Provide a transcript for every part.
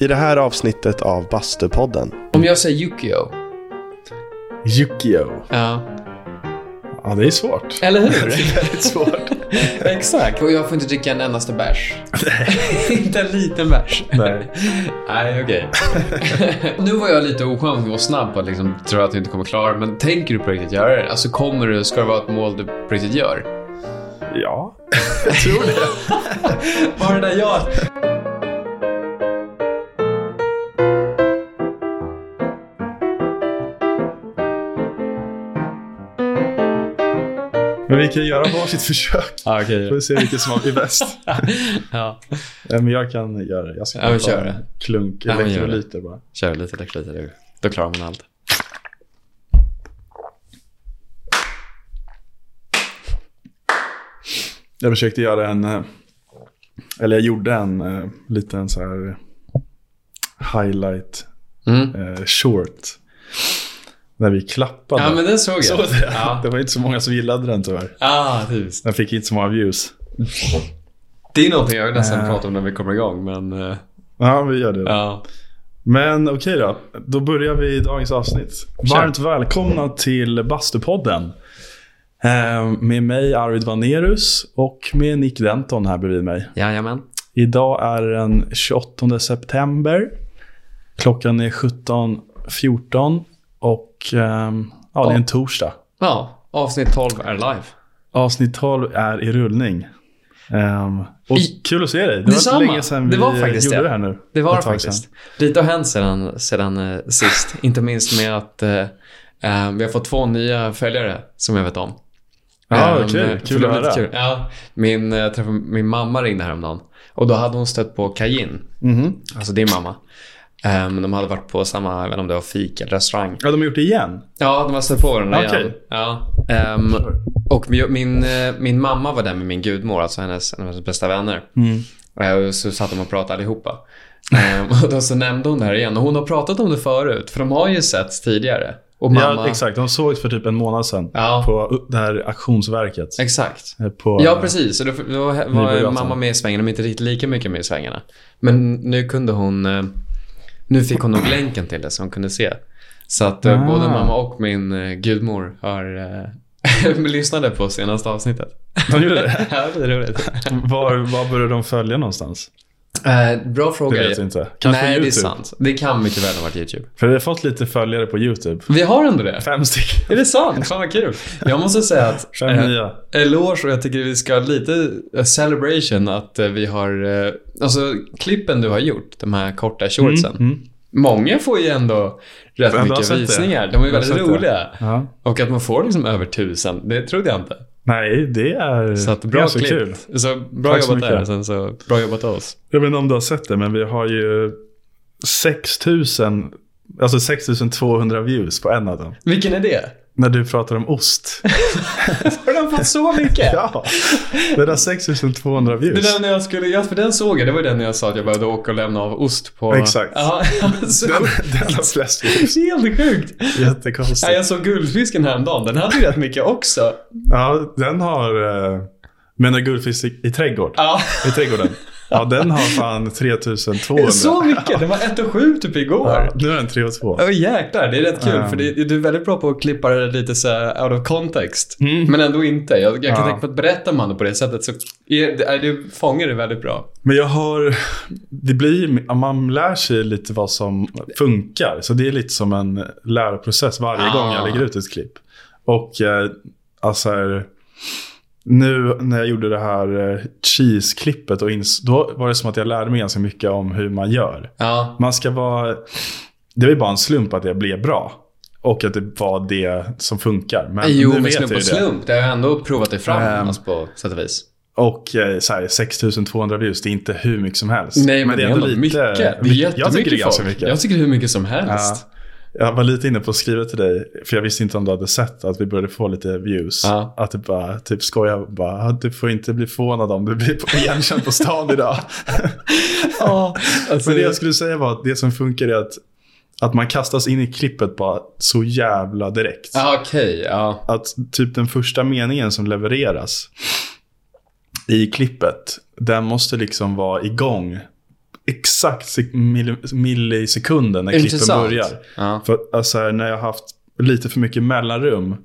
I det här avsnittet av Bastupodden. Om jag säger Yukio. Yukio. Ja. Ja, det är svårt. Eller hur? Väldigt svårt. Exakt. Och jag får inte dricka en endaste bärs. inte en liten bärs. Nej. Nej, okej. nu var jag lite oskön och snabb på att liksom, tro att du inte kommer klara det, men tänker du på riktigt göra det? Alltså kommer du, ska det vara ett mål du på riktigt gör? Ja. Var det där jag? Men vi kan ju göra varsitt försök. Ja, okej. Får vi se vilken som blir bäst. Ja. Nej, men jag kan göra det. Jag ska Ja, men ta kör en det. klunk Ja, men gör det. elektrolyter bara. Kör lite elektrolyter du. Då klarar man allt. Jag försökte göra en... eh, Eller jag gjorde en eh, liten så här eh, highlight Mm. eh, short. När vi klappade. Ja, men den såg jag. Såg du det? Ja. det var inte så många som gillade den tyvärr. Ah, typiskt. Den fick inte så många views. Det är någonting jag nästan Äh. pratar om när vi kommer igång, men... eh, Ja, vi gör det. Ja. Men okej då, då börjar vi dagens avsnitt. Kör. Varmt välkomna till Bastupodden. Eh, Med mig Arvid Vanerus och med Nick Denton här bredvid mig. Jajamän. Idag är det den 28 september. Klockan är 17.14 och ehm, ja, det är en torsdag. Ja, avsnitt 12 är live. Avsnitt 12 är i rullning. Ehm, och I- kul att se dig. Det var Detsamma. inte länge sedan vi Det var faktiskt gjorde det. det här nu. Det var Ett det tag faktiskt. sedan. Lite har hänt sedan, sedan eh, sist. Inte minst med att eh, eh, vi har fått två nya följare som jag vet om. Ja, Eh, kul. för Kul det att var lite höra. kul. Ja, min, eh, jag träffade, min mamma ringde häromdagen och då hade hon stött på Kajin, Mhm. alltså din mamma. Eh, Men de hade varit på samma, jag vet inte om det var fik eller restaurang. Ja, de har gjort det igen. Ja, de har stött på varandra igen. Okej. Ja. ehm, och min, min, eh, min mamma var där med min gudmor, alltså hennes, en av hennes bästa vänner. Mm. Eh, Och så satt de och pratade allihopa. Ehm, och då så nämnde hon det här igen. Och hon har pratat om det förut, för de har ju setts tidigare. Och mamma... Ja, exakt. De sågs för typ en månad sedan. Ja. På det här auktionsverket. exakt. Eh, På, Ja, precis. Och då, då var Nyborgatan. mamma med i svängarna, men inte riktigt lika mycket med i svängarna. Men nu kunde hon... eh, Nu fick hon nog länken till det, så hon kunde se. Så att eh, Ah. både mamma och min eh, gudmor har... eh, lyssnade på senaste avsnittet. De gjorde det. Ja, det är roligt. Var, var började de följa någonstans? Eh, bra Det fråga. vet vi inte. Kanske Nej, det är YouTube. sant. Det kan mycket väl ha varit YouTube. För vi har fått lite följare på YouTube. Vi har ändå det. Fem stycken. Är det sant? Fan vad kul. Jag måste säga att Fem eh, nya. eloge och jag tycker vi ska ha lite eh, celebration att eh, vi har, eh, alltså klippen du har gjort, de här korta shortsen. mm. Många får ju ändå rätt Ja, de har mycket sett det. visningar. De De är ju har väldigt sett det. roliga. Ja. Och att man får liksom över tusen, det trodde jag inte. Nej, det är Så att bra ganska klipp. kul. Så bra Tack så jobbat där. mycket. Sen så, bra jobbat av oss. Jag vet inte om du har sett det, men vi har ju 6000 Alltså 6200 views på en av dem. Vilken är det? När du pratar om ost. Har de fått så mycket? ja, det där 6200 Det views. där när jag skulle, ja, för den såg jag, det var ju den när jag sa att jag behövde åka och lämna av ost på... Exakt. Ja, så Den, sjukt. den har flest views. Det är helt sjukt. Jättekonstigt. Nej, jag såg guldfisken häromdagen, den hade ju rätt mycket också. Ja, den har... eh, Men en guldfisk i, i, trädgård, Ja, i trädgården. Ja, den har fan 3200. så mycket. Den var 1 och 7 typ igår. Ja, nu är den 3 och 2. Åh jäklar, det är rätt kul Ja. för det, du är väldigt bra på att klippa det lite så här out of context. Mm. Men ändå inte. Jag, jag kan Ja. tänka mig att berättar man det på det sättet så är, är, du fångar det väldigt bra. Men jag har... Det blir, man lär sig lite vad som funkar. Så det är lite som en läroprocess varje Ah. gång jag lägger ut ett klipp. Och eh, alltså... här, Nu när jag gjorde det här eh, cheese-klippet, och ins- då var det som att jag lärde mig ganska mycket om hur man gör. Ja, Man ska vara... Det var ju bara en slump att jag blev bra. Och att det var det som funkar. Men jo, nu men vet jag slump ju och det. slump. Det har jag ändå provat dig fram Ehm. alltså, på sätt och vis. Och eh, så här, 6200 views, det är inte hur mycket som helst. Nej, men, det är ändå mycket. Det är jättemycket jag tycker det är ganska folk. mycket. Jag tycker hur mycket som ja. helst. Jag var lite inne på att skriva till dig, för jag visste inte om du hade sett att vi började få lite views. Ja. Att du bara typ skojar och bara, "Ah, du får inte bli förvånad om du blir på- igenkänd på stan idag. Alltså, Ja, alltså, Men det jag skulle säga var att det som funkar är att, att man kastas in i klippet bara så jävla direkt. Ja, okej. ja. att typ den första meningen som levereras i klippet, den måste liksom vara igång exakt sek- mill- millisekunden när klippen Intressant. börjar. Ja. För alltså, här, när jag har haft lite för mycket mellanrum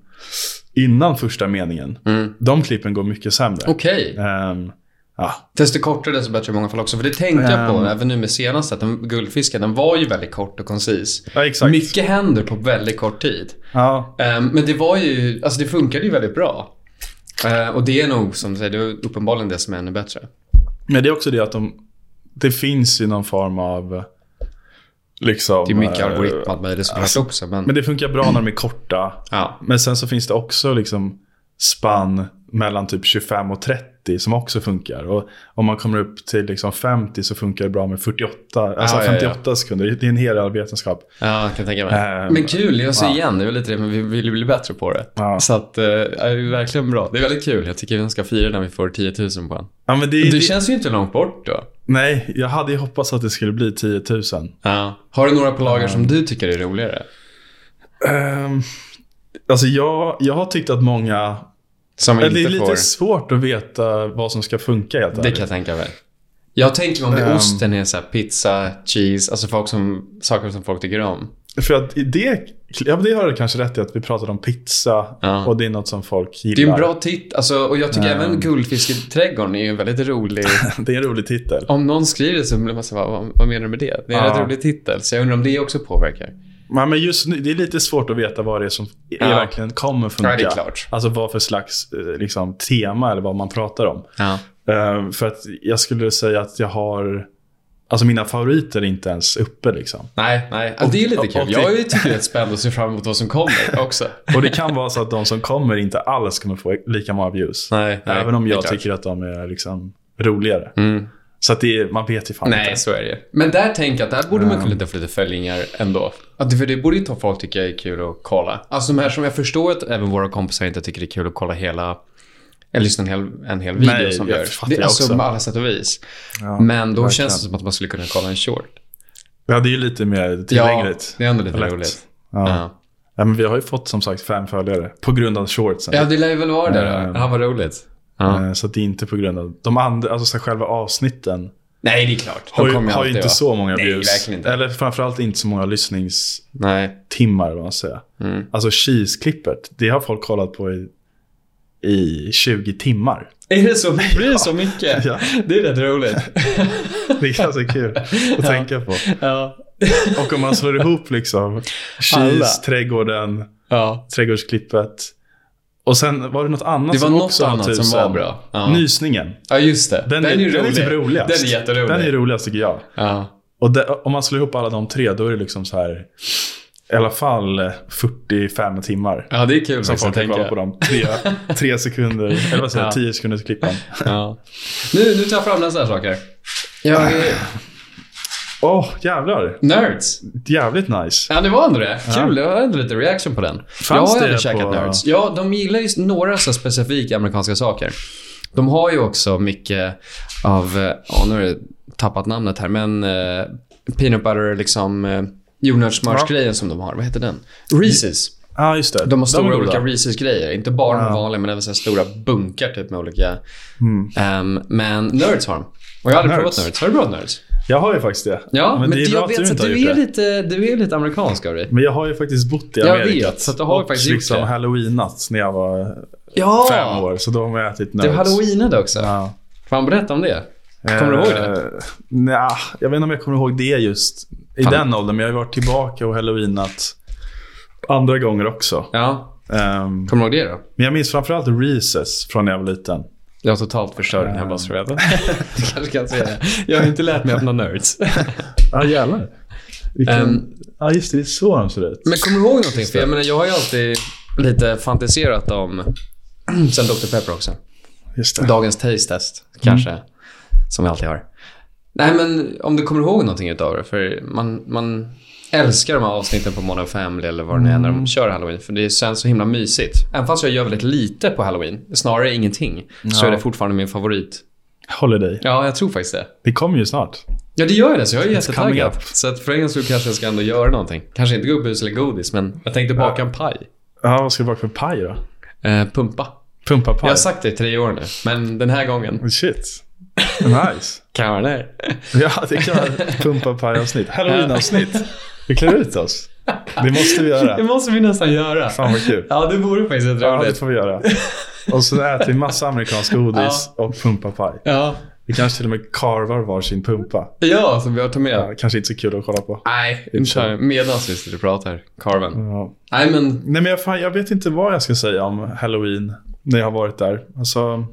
innan första meningen. Mm. De klippen går mycket sämre. Okej. Ehm, ja. Desto kortare desto bättre i många fall också. För det tänkte jag på Ehm. även nu med senaste. Att den, guldfisken, den var ju väldigt kort och koncis. ja, exakt. Mycket händer på väldigt kort tid. Ja. Ehm, Men det var ju, alltså det funkade ju väldigt bra. Eh, Och det är nog, som du säger, det är uppenbarligen det som är ännu bättre. Men det är också det att de, det finns ju någon form av... Liksom, Det är mycket eh, algoritm och allt möjligt såklart alltså, också. Men, Men det funkar bra när de är korta. ja. Men sen så finns det också liksom spann mellan typ 25 och 30 som också funkar. Och om man kommer upp till liksom 50 så funkar det bra med 48, alltså Ja, ja, ja. 58 sekunder. Det är en hel jävla vetenskap. ja, jag kan tänka mig. Ehm, men kul, jag säger ja. igen, det är väl lite det, men vi vill bli bättre på det. Ja. Så att, eh, det är verkligen bra. Det är väldigt kul. Jag tycker vi ska fira när vi får 10 000 på en. Ja, men det, Du det, känns ju inte långt bort då. nej, jag hade ju hoppats att det skulle bli 10 000. Ja. Har du några på lager som Mm. du tycker är roligare? Ehm, alltså jag, jag har tyckt att många... Som Det inte är lite får... svårt att veta vad som ska funka helt Det ärligt. kan jag tänka mig. Jag tänker mig om det Ehm. osten är så här pizza, cheese, alltså folk som, saker som folk tycker om. För att i det, ja, men det har du kanske rätt i att vi pratade om pizza Ja. och det är något som folk gillar. Det är en bra titt. Alltså, och jag tycker Ehm. även Guldfisketrädgården är ju en väldigt rolig. det är en rolig titel. Om någon skriver det så blir man så här, vad, vad menar du med det? Det är en Ja. rätt rolig titel, så jag undrar om det också påverkar. Ja, men just nu, det är lite svårt att veta vad det är som Ja. är verkligen kommer funka. Ja, det är klart. Alltså vad för slags eh, liksom, tema eller vad man pratar om. Ja. Eh, för att jag skulle säga att jag har... Alltså mina favoriter är inte ens uppe liksom. Nej, nej. Ja, det är lite och- kul. och Jag det- tycker det är spännande att se fram emot vad som kommer också. Och det kan vara så att de som kommer inte alls kommer få lika många views. Nej, nej, Även om det är jag klart. tycker att de är liksom, roligare. Mm. Så att det är, man vet ju fan Nej, inte. så är det ju. Men där tänker jag att där borde man kunna få lite följningar ändå. Att, för det borde ju ta folk tycker är kul att kolla. Alltså de här som jag förstår att även våra kompisar inte tycker det är kul att kolla hela, eller lyssna en hel, en hel video Nej, som jag görs. fattar Det, jag alltså också. på alla sätt och vis. Ja, Men då verkligen. känns det som att man skulle kunna kolla en short. Ja, det är ju lite mer tillgängligt. det är ändå lite Lätt. roligt. Ja. Ja. Ja. men vi har ju fått som sagt fem följare på grund av shortsen. ja, det lär ju väl vara det då. Mm. Ja, vad roligt. Ja. Eh, Så att det är inte på grund av... De andra, alltså så här, själva avsnitten Nej, det är klart. har De ju, kommer har ju alltid inte vara. så många Nej, views. verkligen inte. Eller framförallt inte så många lyssningstimmar, Nej. vad man säger. Mm. Alltså cheese-klippet, det har folk kollat på i, i 20 timmar. Är det så? Blir det så mycket? Ja. Det är rätt roligt. Det är ganska kul att tänka på. ja. Och om man slår ihop liksom Alla. cheese, trädgården, ja. trädgårdsklippet. Och sen var det något annat Det var som något också har annat som tusen. var bra. Ja. Nysningen. Ja, just det. Den, är, den är typ roligast. Den är jätterolig. Den är roligast tycker jag. ja. Och det, om man slår ihop alla de tre, då är det liksom så här i alla fall 45 timmar. Liksom, ja, det är kul Som faktiskt folk att har kollat tänka. på de tre, tre sekunder, eller vad säger Ja. jag, 10 sekunders klippan. Ja. Nu, nu tar jag fram nästa saker. Jag är Åh, jävlar. nerds. Jävligt nice. Ja, det var ändå det. Kul. Jag har ändå lite reaction på den. jag har det ändå på- käkat nerds. Ja, de gillar ju några så specifika amerikanska saker. De har ju också mycket av... eh, Ja, nu har jag tappat namnet här, men eh, peanut butter, liksom eh, jordnötssmörsgrejen som de har. Vad heter den? Reese's. Ja, ah, just det. De har stora är goda. olika Reese's-grejer. Inte bara de vanliga, men även så här stora bunkar typ med olika... Ehm, men Nerds har de. Och jag har aldrig Nerds. provat Nerds. Har du provat Nerds? Jag har ju faktiskt det. Ja, men, är det- bra jag vet inte att har du gjort är, det. lite, du är lite amerikansk av dig. Men jag har ju faktiskt bott i Jag Amerika. vet, så att du har ju och faktiskt gjort liksom det. halloweenat när jag var Ja! fem år. Så då har man ätit nerds. Du halloweenade också. Ja. Fan, berätta om det. Kommer du ihåg det? Nej, Eh, jag vet inte om jag kommer ihåg det just i Fan. den åldern. Men jag har ju varit tillbaka och halloweenat andra gånger också. Ja. Ehm, Kommer du ihåg det då? men jag minns framförallt Reeses från när jag var liten. Jag har totalt förstört den här basfreden. du kanske kan säga det. Jag har inte lärt mig öppna Nerds. Ja, ah, jävlar. Vilken... Ehm. ja, just det. Det är så de ser ut. Men kommer du ihåg någonting? För jag menar, jag har ju alltid lite fantiserat om... Sen Dr. Pepper också. Just det. Dagens taste test, kanske. Som vi alltid har. Nej, men om du kommer ihåg någonting utav det. För man, man älskar de här avsnitten på Modern Family eller vad det nu är när de kör halloween. För det känns så himla mysigt. Även fast jag gör väldigt lite på halloween, snarare ingenting, så Ja. är det fortfarande min favorit. Holiday. Ja, jag tror faktiskt det. Det kommer ju snart. Ja, det gör jag det, så jag är coming jättetaggad. up. Så att för en gång så kanske jag ska ändå göra någonting. Kanske inte gubbhus eller godis, men jag tänkte baka en paj. Ja, vad ska det vara för paj då? Eh, pumpa. Pumpa paj? Mm. Jag har sagt det i tre år nu, men den här gången. Shit. Nice. Kan man det? Ja, det kan vara pumpa paj-avsnitt. Halloween-avsnitt. Vi klär ut oss. Det måste vi Det göra. måste vi nästan göra. Fan vad kul. Ja, det vore faktiskt ett Ja, det roligt. får vi göra. Och så äter vi massa amerikansk godis och pumpa paj. Ja. Vi kanske till och med karvar varsin pumpa. ja, som vi har tagit med. Ja, kanske inte så kul att kolla på. Nej, inte medan vi sitter och pratar. Carven. Ja. Nej, men Nej, men jag, fan, jag vet inte vad jag ska säga om halloween när jag har varit där. Alltså,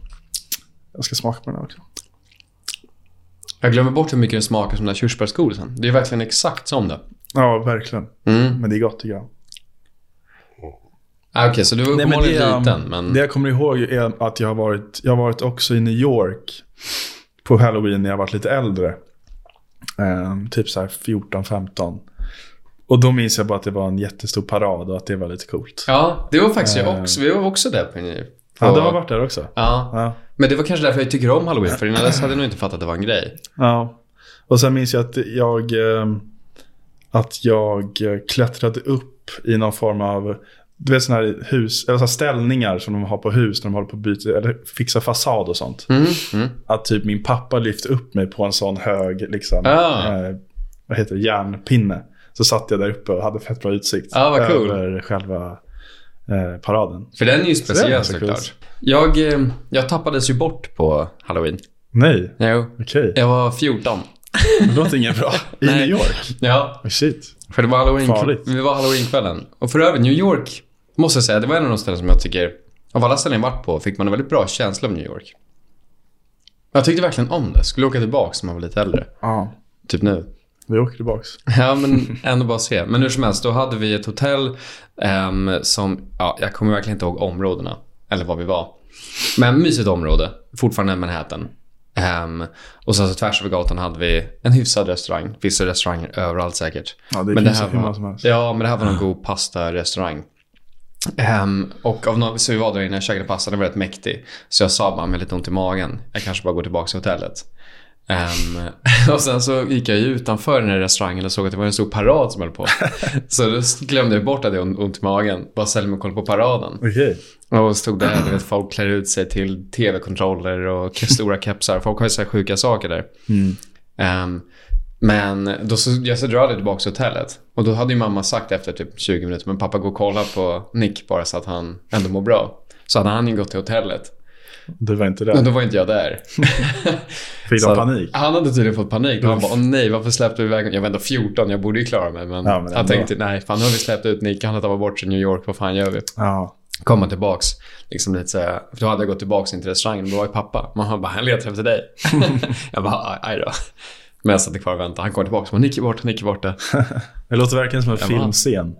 jag ska smaka på den här också. jag glömmer bort hur mycket den smakar som den där körsbärsgodisen. Det är verkligen exakt som det. Ja, verkligen. Mm. Men det är gott tycker jag. Ah, Okej, så du var men uppenbarligen det, um, liten, men... Det jag kommer ihåg är att jag har varit, jag har varit också i New York på halloween när jag varit lite äldre. Ehm, typ så här 14-15. Och då minns jag bara att det var en jättestor parad och att det var lite coolt. Ja, det var faktiskt jag Eh. också. Vi var också där på en på... Ja, du har varit där också? Ja, Ja. men det var kanske därför jag tycker om halloween. För innan dess hade jag nog inte fattat att det var en grej. Ja. Och sen minns jag att jag, ehm, att jag eh, klättrade upp i någon form av du vet sådana här hus, eller så här ställningar som de har på hus när de håller på att byta, eller fixa fasad och sånt. Mm. Mm. Att typ min pappa lyfte upp mig på en sån hög, liksom, Ah. eh, vad heter det, järnpinne. Så satt jag där uppe och hade fett bra utsikt Ah, vad cool. över själva eh, paraden. För den är ju det är speciell ganska såklart. coolt. Jag, eh, jag tappades ju bort på halloween. Nej, Jo. okej. Jag var 14. Det låter inget bra. I Nej. New York? Ja, Oh, shit. för det var halloween. Farligt. Vi var halloweenkvällen. Och för övrigt, New York måste jag säga, det var en av de ställen som jag tycker, av alla ställen jag varit på, fick man en väldigt bra känsla av New York. Jag tyckte verkligen om det. Skulle åka tillbaka när man var lite äldre. Ja, Typ nu. vi åker tillbaks. Ja, men ändå bara se. Men hur som helst, då hade vi ett hotell ehm, som... Ja, jag kommer verkligen inte ihåg områdena, eller var vi var. Men mysigt område, fortfarande Manhattan. Ehm, och sen så tvärs över gatan hade vi en hyfsad restaurang. Finns det restauranger överallt säkert. Ja, det Men finns här hur många var, som helst. Ja, men det här var någon god pastarestaurang. Ehm, och av någon, så vi var där inne och käkade pasta, den var rätt mäktig. Så jag sa bara med lite ont i magen, jag kanske bara går tillbaka till hotellet. Ehm, och sen så gick jag ju utanför den här restaurangen och såg att det var en stor parad som höll på. Så då glömde jag bort att jag hade ont i magen. Bara ställde mig och kollade på paraden. Okej. Och stod där, du vet, folk klär ut sig till tv-kontroller och ke- stora kepsar. Folk har ju så här sjuka saker där. Ehm, men då så, jag så drar jag tillbaka till hotellet. Och då hade ju mamma sagt efter typ 20 minuter, men pappa gå och kolla på Nick bara så att han ändå mår bra. Så hade han ju gått till hotellet. Du var inte Men där. då var inte jag där. Fick Så- de panik? Han hade tydligen fått panik. Och han bara, åh nej, varför släppte vi iväg honom? Jag var ändå 14, jag borde ju klara mig. Men, Ja, men han ändå. tänkte, nej, fan nu har vi släppt ut Nick. Han har tagit bort sig i New York, vad fan gör vi? Ja. komma tillbaks. Liksom lite så här, för då hade jag gått tillbaks in till restaurangen och då var ju pappa. Mamma bara, han letar efter dig. jag bara, aj- aj då. Men jag satt kvar och väntade. Han kom tillbaka och Nick är borta, Nick är borta. Det låter verkligen som en men han- filmscen.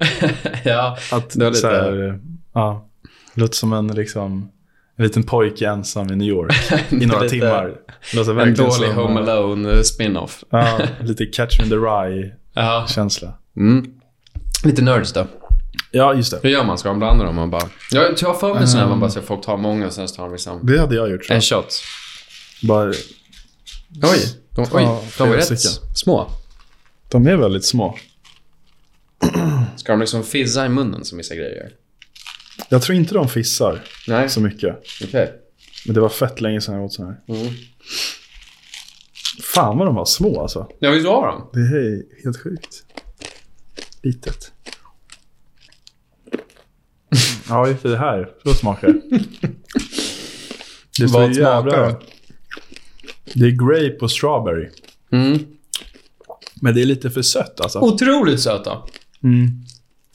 ja, Att det var lite... så här, ja, det låter som en, liksom, en liten pojke ensam i New York i några Lite- timmar. Det låter en verkligen dålig som, Home Alone eh, spin-off. Ja, lite catch me in the rye-känsla. Ja. Mm. Lite nerds då. Ja, just det. Hur gör man? Ska man blanda dem? Man bara... Jag jag har för Mm. mig sådana här man bara ser folk ta många och sen så tar de liksom... Det hade jag gjort. tror En jag. shot. Bara, Oj, de, oj, Ja, de var flera rätt stycken. små. de är väldigt små. Ska de liksom fizza i munnen som vissa grejer gör? Jag tror inte de fissar Nej, så mycket. okej. Men det var fett länge sedan jag åt sådana här. Mm. Fan vad de var små alltså. Ja, visst var de? Det är helt sjukt. Litet. Ja, just det. det här. Så smakar det. Det Vad så jävla- smakar det? Det är grape och strawberry. Mm. Men det är lite för sött Oh. alltså. Otroligt söta. Mm.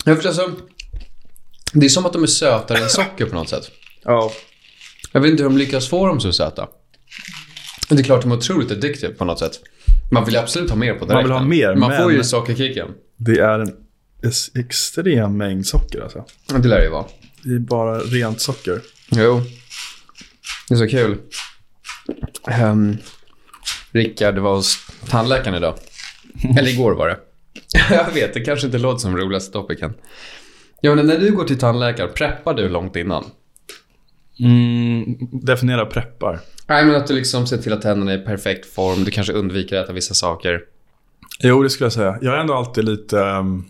Jag förstår, alltså, det är som att de är sötare än socker på något sätt. Ja. Jag vet inte hur de lyckas få dem så söta. Men det är klart de är otroligt addictive på något sätt. Man vill ju absolut ha mer på direkten. Man vill ha mer, Man men- får ju sockerkicken. Det är en ex- extrem mängd socker alltså. Det lär det ju vara. Det är bara rent socker. Jo. Det är så kul. Um, Rickard var hos tandläkaren idag. Eller igår var det. Jag vet, det kanske inte låter som roligaste topicen. Ja, men när du går till tandläkaren, preppar du långt innan? Mm. Definiera preppar. Nej, men att du liksom ser till att tänderna är i perfekt form. Du kanske undviker att äta vissa saker. Jo, det skulle jag säga. Jag är ändå alltid lite... ehm,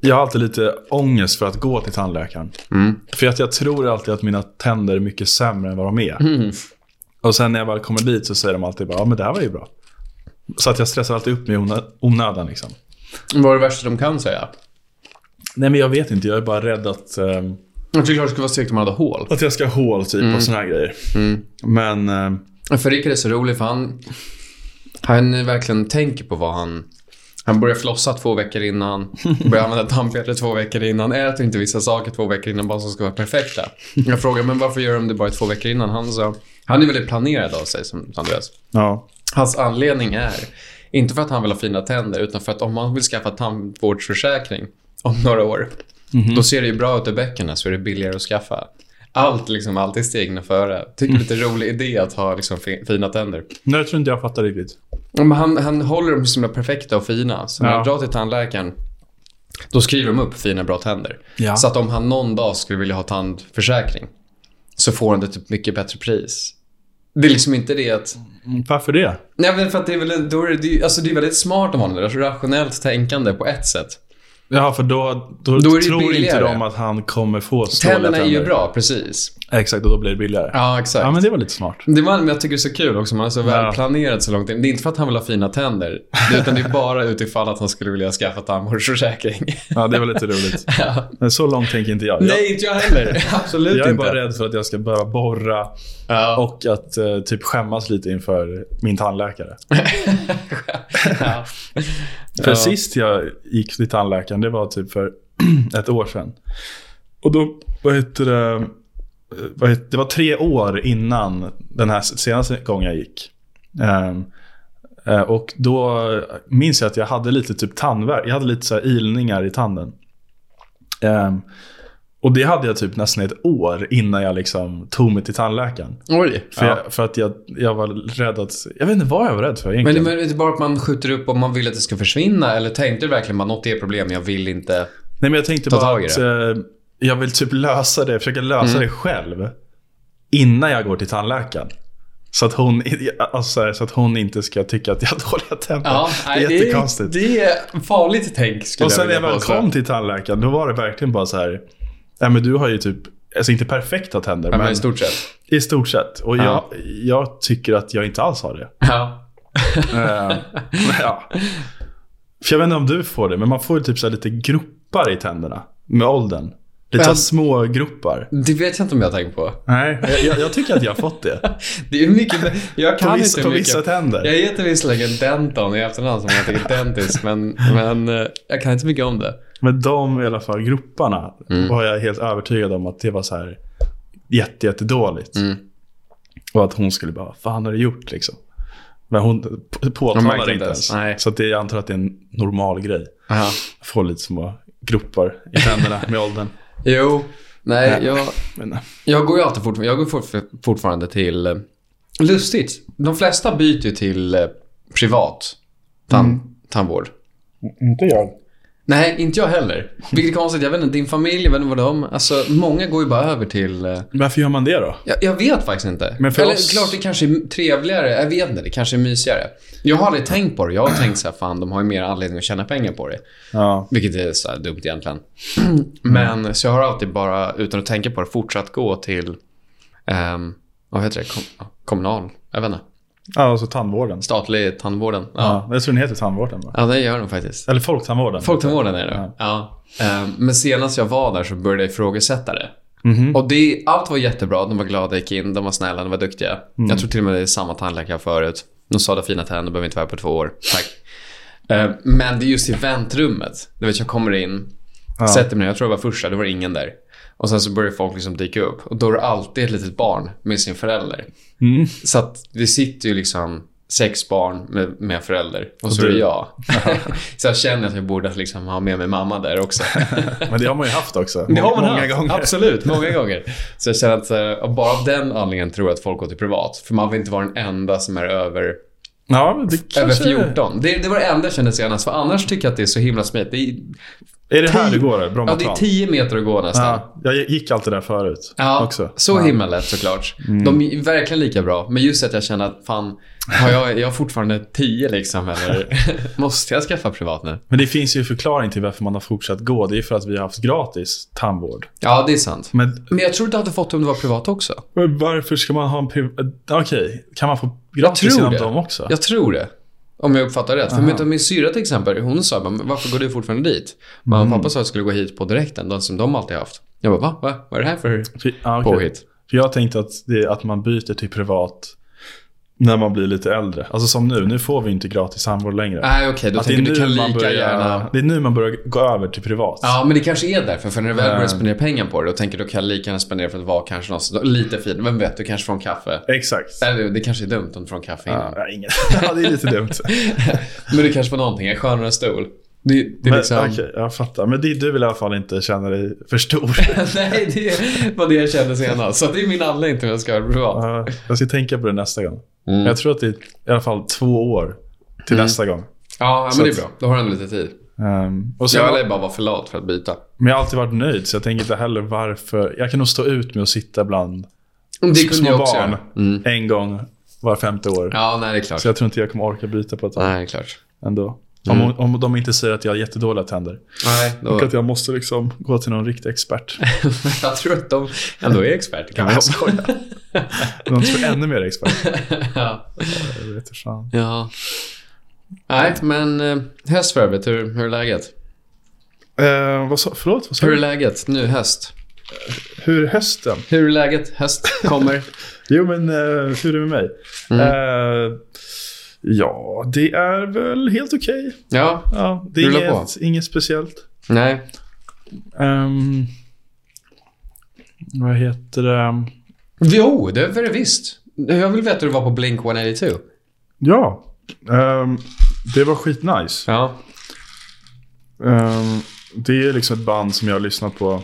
jag har alltid lite ångest för att gå till Mm. Mm. tandläkaren. För att jag tror alltid att mina tänder är mycket sämre än vad de är. Och sen när jag väl kommer dit så säger de alltid bara, ja men det här var ju bra. Så att jag stressar alltid upp mig i onö- onödan liksom. Vad är det värsta de kan säga? Nej men jag vet inte, jag är bara rädd att, ehm, Jag tycker det skulle vara segt om man hade hål. att jag ska ha hål typ Mm. och såna här grejer. Men ehm, För Rickard är så rolig för han, han verkligen tänker på vad han... Han börjar flossa två veckor innan, börjar använda tandpetare två veckor innan, äter inte vissa saker två veckor innan bara som ska vara perfekta. Jag frågar men varför gör de det bara två veckor innan? Han sa, han är väldigt planerad av sig som Andreas. ja. Hans anledning är, inte för att han vill ha fina tänder, utan för att om han vill skaffa tandvårdsförsäkring om några år, Mhm. då ser det ju bra ut i böckerna så är det billigare att skaffa. Allt liksom, allt är stegen före. Tycker det är lite rolig idé att ha liksom fi- fina tänder. Nej, jag tror inte jag fattar riktigt. Ja, Men han, han håller dem så himla perfekta och fina. Så när Ja. han drar till tandläkaren, då skriver de upp fina, bra tänder. Ja. Så att om han någon dag skulle vilja ha tandförsäkring, så får han det typ mycket bättre pris. Det är liksom inte det att Mm, Varför det? Nej, men för att det är väl en- då är det, det, är ju- alltså det är väldigt smart om honom. Alltså rationellt tänkande på ett sätt. Ja, för då, då, Då är det tror inte billigare. de att han kommer få ståliga Tänderna är ju bra, precis. Exakt, och då blir det billigare. Ja, exakt. Ja, men det var lite smart. Det var, men jag tycker det är så kul också. Man är så Ja. väl planerat så långt in. Det är inte för att han vill ha fina tänder. Utan det är bara utifall att han skulle vilja skaffa tandvårdsförsäkring. Ja, det var lite roligt. Ja. Men så långt tänker inte jag. Nej, inte jag heller. Absolut jag, jag är inte. bara rädd för att jag ska börja borra Ja. och att eh, typ skämmas lite inför min tandläkare. Ja. För Ja. sist jag gick till tandläkaren, det var typ för ett år sedan. Och då, vad heter det, eh, vad heter, det var tre år innan den här senaste gången jag gick. Ehm, eh, och då minns jag att jag hade lite typ tandvärk, jag hade lite så här ilningar i tanden. Ehm, och det hade jag typ nästan ett år innan jag liksom tog mig till tandläkaren. Oj. För, Ja. jag, för att jag, jag var rädd att, jag vet inte vad jag var rädd för egentligen. Men det är inte bara att man skjuter upp om man vill att det ska försvinna. Eller tänkte du verkligen att något är problem, jag vill inte. Nej men jag tänkte Ta bara tag i Mm. att eh, jag vill typ lösa det, försöka lösa det själv. Innan jag går till tandläkaren. Så att, hon, alltså, så här, så att hon inte ska tycka att jag har dåliga tänder. det är jättekonstigt. Det är farligt tänk skulle och sen när jag vilja väl påstå. kom till tandläkaren, då var det verkligen bara så här. Nej men du har ju typ, alltså inte perfekta tänder, Ja, men men i stort sett. i stort sett. Och Ja. jag, jag tycker att jag inte alls har det. Ja. Eh, ja. För jag vet inte om du får det, men man får ju typ så här lite gropar i tänderna med åldern. Lite så här Men- små gropar. Det vet jag inte om jag har tänkt på. Nej, jag- jag, jag tycker att jag har fått det. Det är mycket... Jag På kan vissa, inte på mycket. vissa tänder. Jag heter visserligen Denton i efternamn som heter Dentis, men, men eh, jag kan inte mycket om det. Men de i alla fall, groparna, var jag helt övertygad om att det var så här jätte, jättedåligt. Mm. Och att hon skulle bara, vad fan har du gjort liksom? Men hon p- påtalade märkte inte inte ens. ens. Nej. Så att det, jag antar att det är en normal grej. Aha. Jag får lite små gropar i tänderna med åldern. Jo, nej, Nej. jag, Men, eh. jag går ju alltid fortfarande, jag går fortf- fortfarande till... eh, Lustigt. De flesta byter ju till eh, privat tan- tandvård. inte jag. Nej, inte jag heller. Vilket är konstigt. Jag vet inte, din familj, jag vet inte vad de... Alltså, många går ju bara över till... eh, Varför gör man det då? Jag, jag vet faktiskt inte. Men för Eller oss- klart det kanske är trevligare. Jag vet inte, det kanske är mysigare. Jag har aldrig tänkt på det. Jag har tänkt så här, fan de har ju mer anledning att tjäna pengar på det. Ja. Vilket är så här dumt egentligen. Mm. Men så jag har alltid bara, utan att tänka på det, fortsatt gå till, ehm, vad heter det, Kom, kommunal? Jag vet inte. Ja, alltså tandvården. Statlig tandvården. Ja, Ja. Jag tror den heter tandvården va? ja det gör de faktiskt. Eller folktandvården. Folktandvården är det. Ja. Ehm, men senast jag var där så började jag ifrågasätta det. Mhm. Och det, allt var jättebra. De var glada jag gick in. De var snälla, de var duktiga. Mm. Jag tror till och med det är samma tandläkare förut. De sa det fina tänder, behöver inte vara här på två år. Tack. Eh, Men det är just i väntrummet. Du vet, jag kommer in, sätter mig ner. Jag tror jag var första, det var ingen där. Och sen så börjar folk liksom dyka upp. Och då är det alltid ett litet barn med sin förälder. Mm. Så att vi sitter ju liksom sex barn med, med en förälder. Och så Och är du. det jag. så jag känner att jag borde liksom ha med mig mamma där också. Men det har man ju haft också. Det har man Många haft. gånger. Absolut, många gånger. Så jag känner att eh, bara av den anledningen tror jag att folk går till privat. För man vill inte vara den enda som är över, Ja, men det kanske... över 14. Det, det var det enda jag kände senast. För annars tycker jag att det är så himla smidigt. Det är, Är det här Tio- du går? eller? Ja, det är Brommaplan? 10 meter att gå nästan. Ja. Ja, jag gick alltid där förut också. Mm. så himla lätt såklart. De är verkligen lika bra. Men just att jag känner att fan, har jag, jag har fortfarande 10 liksom eller måste jag skaffa privat nu? Men det finns ju en förklaring till varför man har fortsatt gå. Det är för att vi har haft gratis tandvård. Ja, det är sant. Men, Men jag tror du hade fått det om det var privat också. men varför ska man ha en priv- eh, Okej, kan man få gratis tror inom det. dem också? Jag tror det. Om jag uppfattar rätt. För min, min syra till exempel, hon sa bara, "Men varför går du fortfarande dit? Mamma och pappa sa att jag skulle gå hit på direkten, den som de alltid haft. Jag bara, va? va? Vad är det här för För, ja, okej. påhitt? för jag tänkte att, det, att man byter till privat när man blir lite äldre. Alltså som nu, nu får vi inte gratis tandvård längre. Nej, okej, då Att tänker du kan lika börjar, gärna... Det är nu man börjar gå över till privat. Ja, men det kanske är därför. För när du väl börjar Mm. spendera pengar på det, då tänker du kan jag lika gärna spendera för att vara kanske någonstans. Lite fin. Vem vet, du kanske får en kaffe. Exakt. Eller det kanske är dumt om du får en kaffe innan. Ja, ja, ingen. ja, det är lite dumt. men du kanske får någonting, en skönare stol. Det, det är Men, liksom... Okej, jag fattar. Men det, du vill i alla fall inte känna dig för stor. Nej, det var det jag kände senast. Så det är min anledning till att jag ska vara privat. Ja, jag ska tänka på det nästa gång. Mm. Jag tror att det är i alla fall två år till nästa gång. Ja, Så men det är att- bra. Då har du ändå lite tid. Ehm, och sen, Jag lär bara vara för lat för att byta. men jag har alltid varit nöjd, så jag tänker inte heller varför. Jag kan nog stå ut med att sitta bland Det kunde små jag också barn göra. Mm. en gång var femte år. Ja, nej, det är klart. Så jag tror inte jag kommer orka byta på ett tag Nej, Mm. det är klart. ändå. Om, om de inte säger att jag har jättedåliga tänder. Nej, Och då... att jag måste liksom gå till någon riktig expert. jag tror att de ändå är experter. Kan man Jag skojar. Någon som är ännu mer expert. ja. Jag vet inte fan. ja. Nej, men eh, höst för övrigt. Hur, hur är läget? Eh, vad sa, förlåt, vad sa Hur är du? läget nu höst? Hur är hösten? Hur är läget? Höst kommer. Jo, men eh, hur är det med mig? Eh, ja, det är väl helt okej. Ja. Ja, det är Rulla på. inget, inget speciellt. Nej. Ehm, vad heter det? Jo, det är det visst. Jag vill veta hur du var på Blink 182. Ja, ehm, det var skitnice. Ja. Ehm, det är liksom ett band som jag har lyssnat på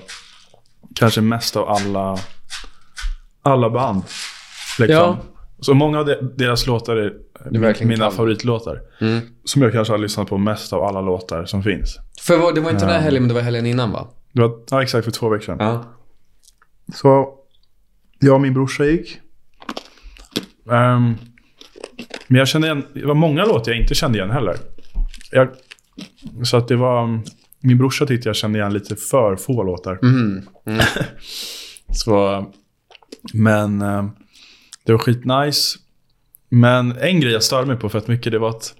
kanske mest av alla, alla band. Liksom. Ja. Så många av de- deras låtar är är verkligen mina kall. favoritlåtar. Mm. Som jag kanske har lyssnat på mest av alla låtar som finns. För vad- det var inte den här helgen, men det var helgen innan, va? Det var ja, exakt för två veckor sedan. Ja. Så jag och min brorsa gick. Ehm, men jag kände igen, det var många låtar jag inte kände igen heller. Jag, så att det var, mm, min brorsa tyckte jag kände igen lite för få låtar. Mm. Så, men ehm, det var skitnice. Men en grej jag störde mig på för att mycket det var att,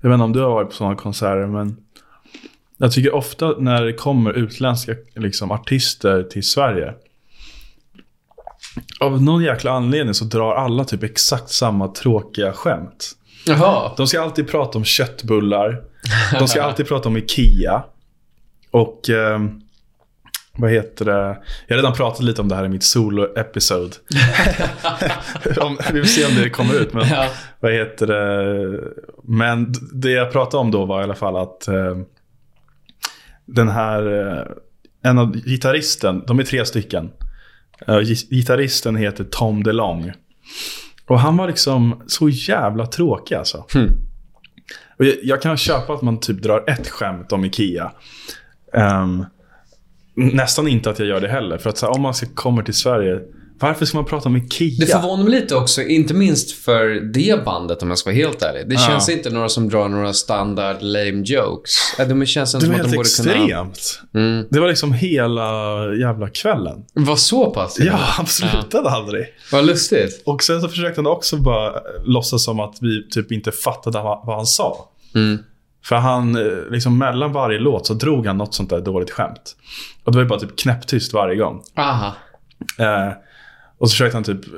jag vet inte om du har varit på sådana konserter, men jag tycker ofta när det kommer utländska liksom, artister till Sverige. Av någon jäkla anledning så drar alla typ exakt samma tråkiga skämt. Jaha. De ska alltid prata om köttbullar. De ska alltid prata om Ikea. Och ehm, vad heter det? Jag har redan pratat lite om det här i mitt solo-episode. Om- vi får se om det kommer ut. Men, Ja. vad heter det? men d- det jag pratade om då var i alla fall att ehm, den här, eh, en av gitarristen, de är tre stycken. Eh, gis- gitarristen heter Tom DeLong. Och han var liksom så jävla tråkig alltså. Hmm. Och jag, jag kan köpa att man typ drar ett skämt om Ikea. Ehm, nästan inte att jag gör det heller. För att så här, om man ska, kommer till Sverige, varför ska man prata om Ikea? Det förvånar mig lite också, inte minst för det bandet om jag ska vara helt ärlig. Det känns inte några som drar några standard lame jokes. Äh, De känns det som var att de helt borde kunna... extremt. Mm. Det var liksom hela jävla kvällen. Var så pass? Ja, han slutade aldrig. Vad lustigt. Och sen så försökte han också bara eh, låtsas som att vi typ inte fattade vad vad han sa. Mm. För han, eh, liksom mellan varje låt så drog han något sånt där dåligt skämt. Och det var ju bara typ knäpptyst varje gång. Aha. Eh, och så försökte han typ eh,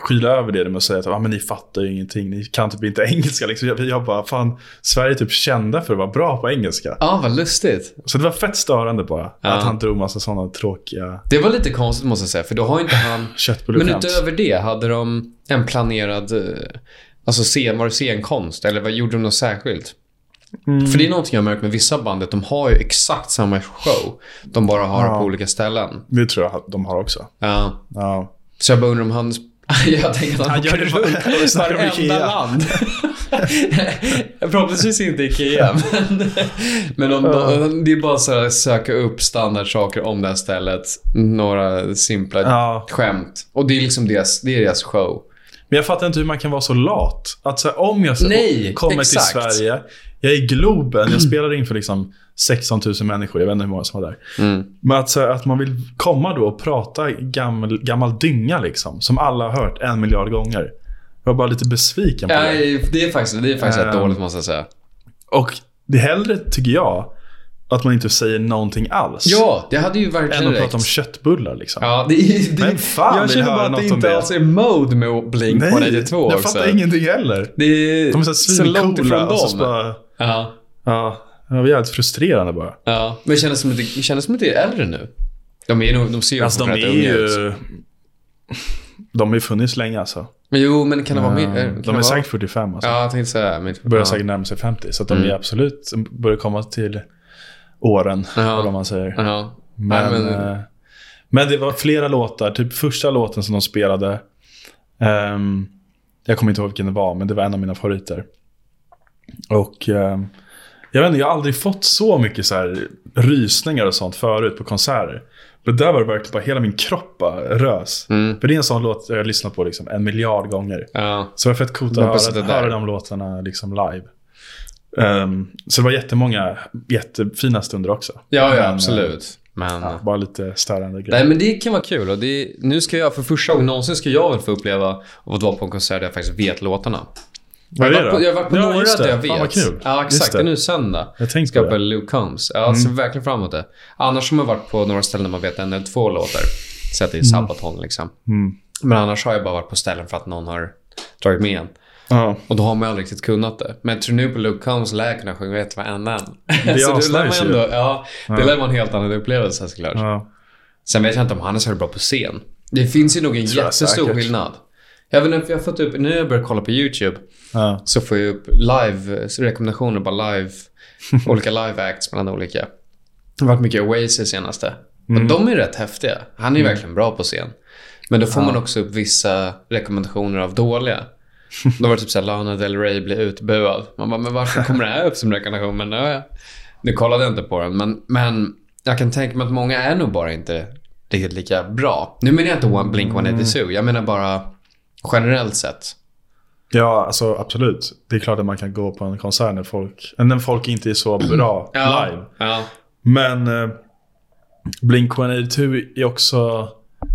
skyla över det med att säga att ah, men ni fattar ju ingenting, ni kan typ inte engelska. Liksom. Jag, jag bara, fan, Sverige är typ kända för att vara bra på engelska. Ja, vad lustigt. Så det var fett störande bara, Ja. att han drog massa sådana tråkiga Det var lite konstigt måste jag säga, för då har inte han... Men köttbulleskämt. utöver det, hade de en planerad... eh, Alltså scen, var det scenkonst eller vad gjorde de något särskilt? För det är någonting jag har märkt med vissa bandet. De har ju exakt samma show. De bara har Ja. på olika ställen. Det tror jag att de har också. Ja. Ja. Så jag bara undrar om han... jag tänker att han, Han gör åker det runt bara- och snackar om varenda Ikea. land. Förhoppningsvis inte IKEA, men, men om de, det är bara så här, söka upp standardsaker om det här stället. Några simpla Ja. skämt. Och det är liksom deras, det är deras show. Men jag fattar inte hur man kan vara så lat. Att så här, om jag så, Nej, kommer till exakt. Sverige, jag är i Globen, jag spelar inför liksom 16 000 människor, jag vet inte hur många som var där. Mm. Men att, så här, att man vill komma då och prata gammal, gammal dynga liksom, som alla har hört en miljard gånger. Jag var bara lite besviken på det. Nej, det är faktiskt, det är faktiskt rätt Ehm. dåligt måste jag säga. Och det är hellre, tycker jag, att man inte säger någonting alls. Ja, det hade ju än verkligen att prata om räckt. köttbullar liksom. Ja, det, är- det, Men fan jag vill känner höra bara att det något om inte det. alls är mode med Blink Nej, 182 jag också. fattar ingenting heller. Det är, De är så, här så långt ifrån svincoola dem. och så bara... Ja. Ja, det var jävligt frustrerande bara. Ja, men känns som att det känns som att det är äldre nu. De, är nog, de ser ju Alltså de fortfarande är rätt unga ut. ju... De har ju funnits länge alltså. Jo, men kan det vara... mer- Eh, kan det de är vara- säkert 45 alltså. Ja, jag tänkte säga. Men, Börjar ja. säkert närma sig 50. Så att de är absolut börjar komma till åren, Ja. eller vad man säger. Ja. Men, Nej, men- eh, men det var flera låtar. Typ första låten som de spelade. ehm, jag kommer inte ihåg vilken det var, men det var en av mina favoriter. Och ehm, jag vet inte, jag har aldrig fått så mycket så här rysningar och sånt förut på konserter. Men där var det verkligen bara hela min kropp bara rös. Mm. För det är en sån låt jag har lyssnat på liksom en miljard gånger. ja. Så det var fett coolt Bara på att höra, sättet där. höra de låtarna liksom live. Ehm, så det var jättemånga jättefina stunder också. Ja, ja, Men, eh, absolut. Men... Ja, bara lite störande grejer. Nej, men det kan vara kul. Och det, nu ska jag, för första gången någonsin, ska jag väl få uppleva att vara på en konsert där jag faktiskt vet låtarna. Vad Jag är det har varit då? på, jag har varit på Ja, några just där det. jag vet. Fan, vad kul. Ja, Just exakt. det. Det är nu söndag. Jag tänkte Ska på jag på det. Mm. Luke Combs. Ja, ser verkligen fram emot det. Annars har man varit på några ställen där man vet en eller två låtar. Så att det är Mm. Sabaton liksom. Men annars har jag bara varit på ställen för att någon har dragit med en. Ja. Och då har man ju aldrig riktigt kunnat det. Men jag tror nu på Luke Combs lär jag kunna sjunga vet varenda en. är Så det lär man asnice ju. ändå, ja, det lär man en helt annan upplevelse såklart. Ja. Sen vet jag inte om han är så bra på scen. Det finns ju nog en jag jättestor säkert. skillnad. Jag vet inte, jag har fått upp, nu när jag börjar kolla på YouTube Ja. så får jag upp live så rekommendationer, bara live, olika live acts mellan olika. Det har varit mycket Oasis senaste. Och de är rätt häftiga. Han är ju verkligen bra på scen. Men då får man också upp vissa rekommendationer av dåliga. Då var det typ såhär, Lana Del Rey blir utbuad. Man bara, men varför kommer det här upp som rekommendation? Men ja, ja. nu kollade jag inte på den. Men, men jag kan tänka mig att många är nog bara inte riktigt lika bra. Nu menar jag inte One Blink 182. Jag menar bara generellt sett. ja, alltså absolut. Det är klart att man kan gå på en konsert när folk, när folk inte är så bra live. Ja. Men eh, Blink-182 är också...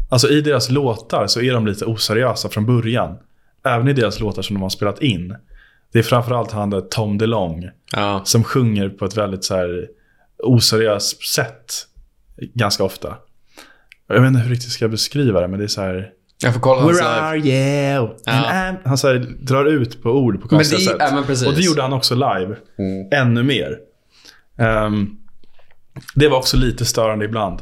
Alltså i deras låtar så är de lite oseriösa från början. Även i deras låtar som de har spelat in. Det är framförallt han där Tom DeLong ja. som sjunger på ett väldigt så här oseriöst sätt ganska ofta. Jag vet inte hur riktigt ska jag beskriva det, men det är så här... Jag får kolla hans Where live. are you? And Ja. I'm... Han så här, drar ut på ord på konstiga det- sätt. ja, men precis. Och det gjorde han också live. Mm. Ännu mer. Ehm, det var också lite störande ibland.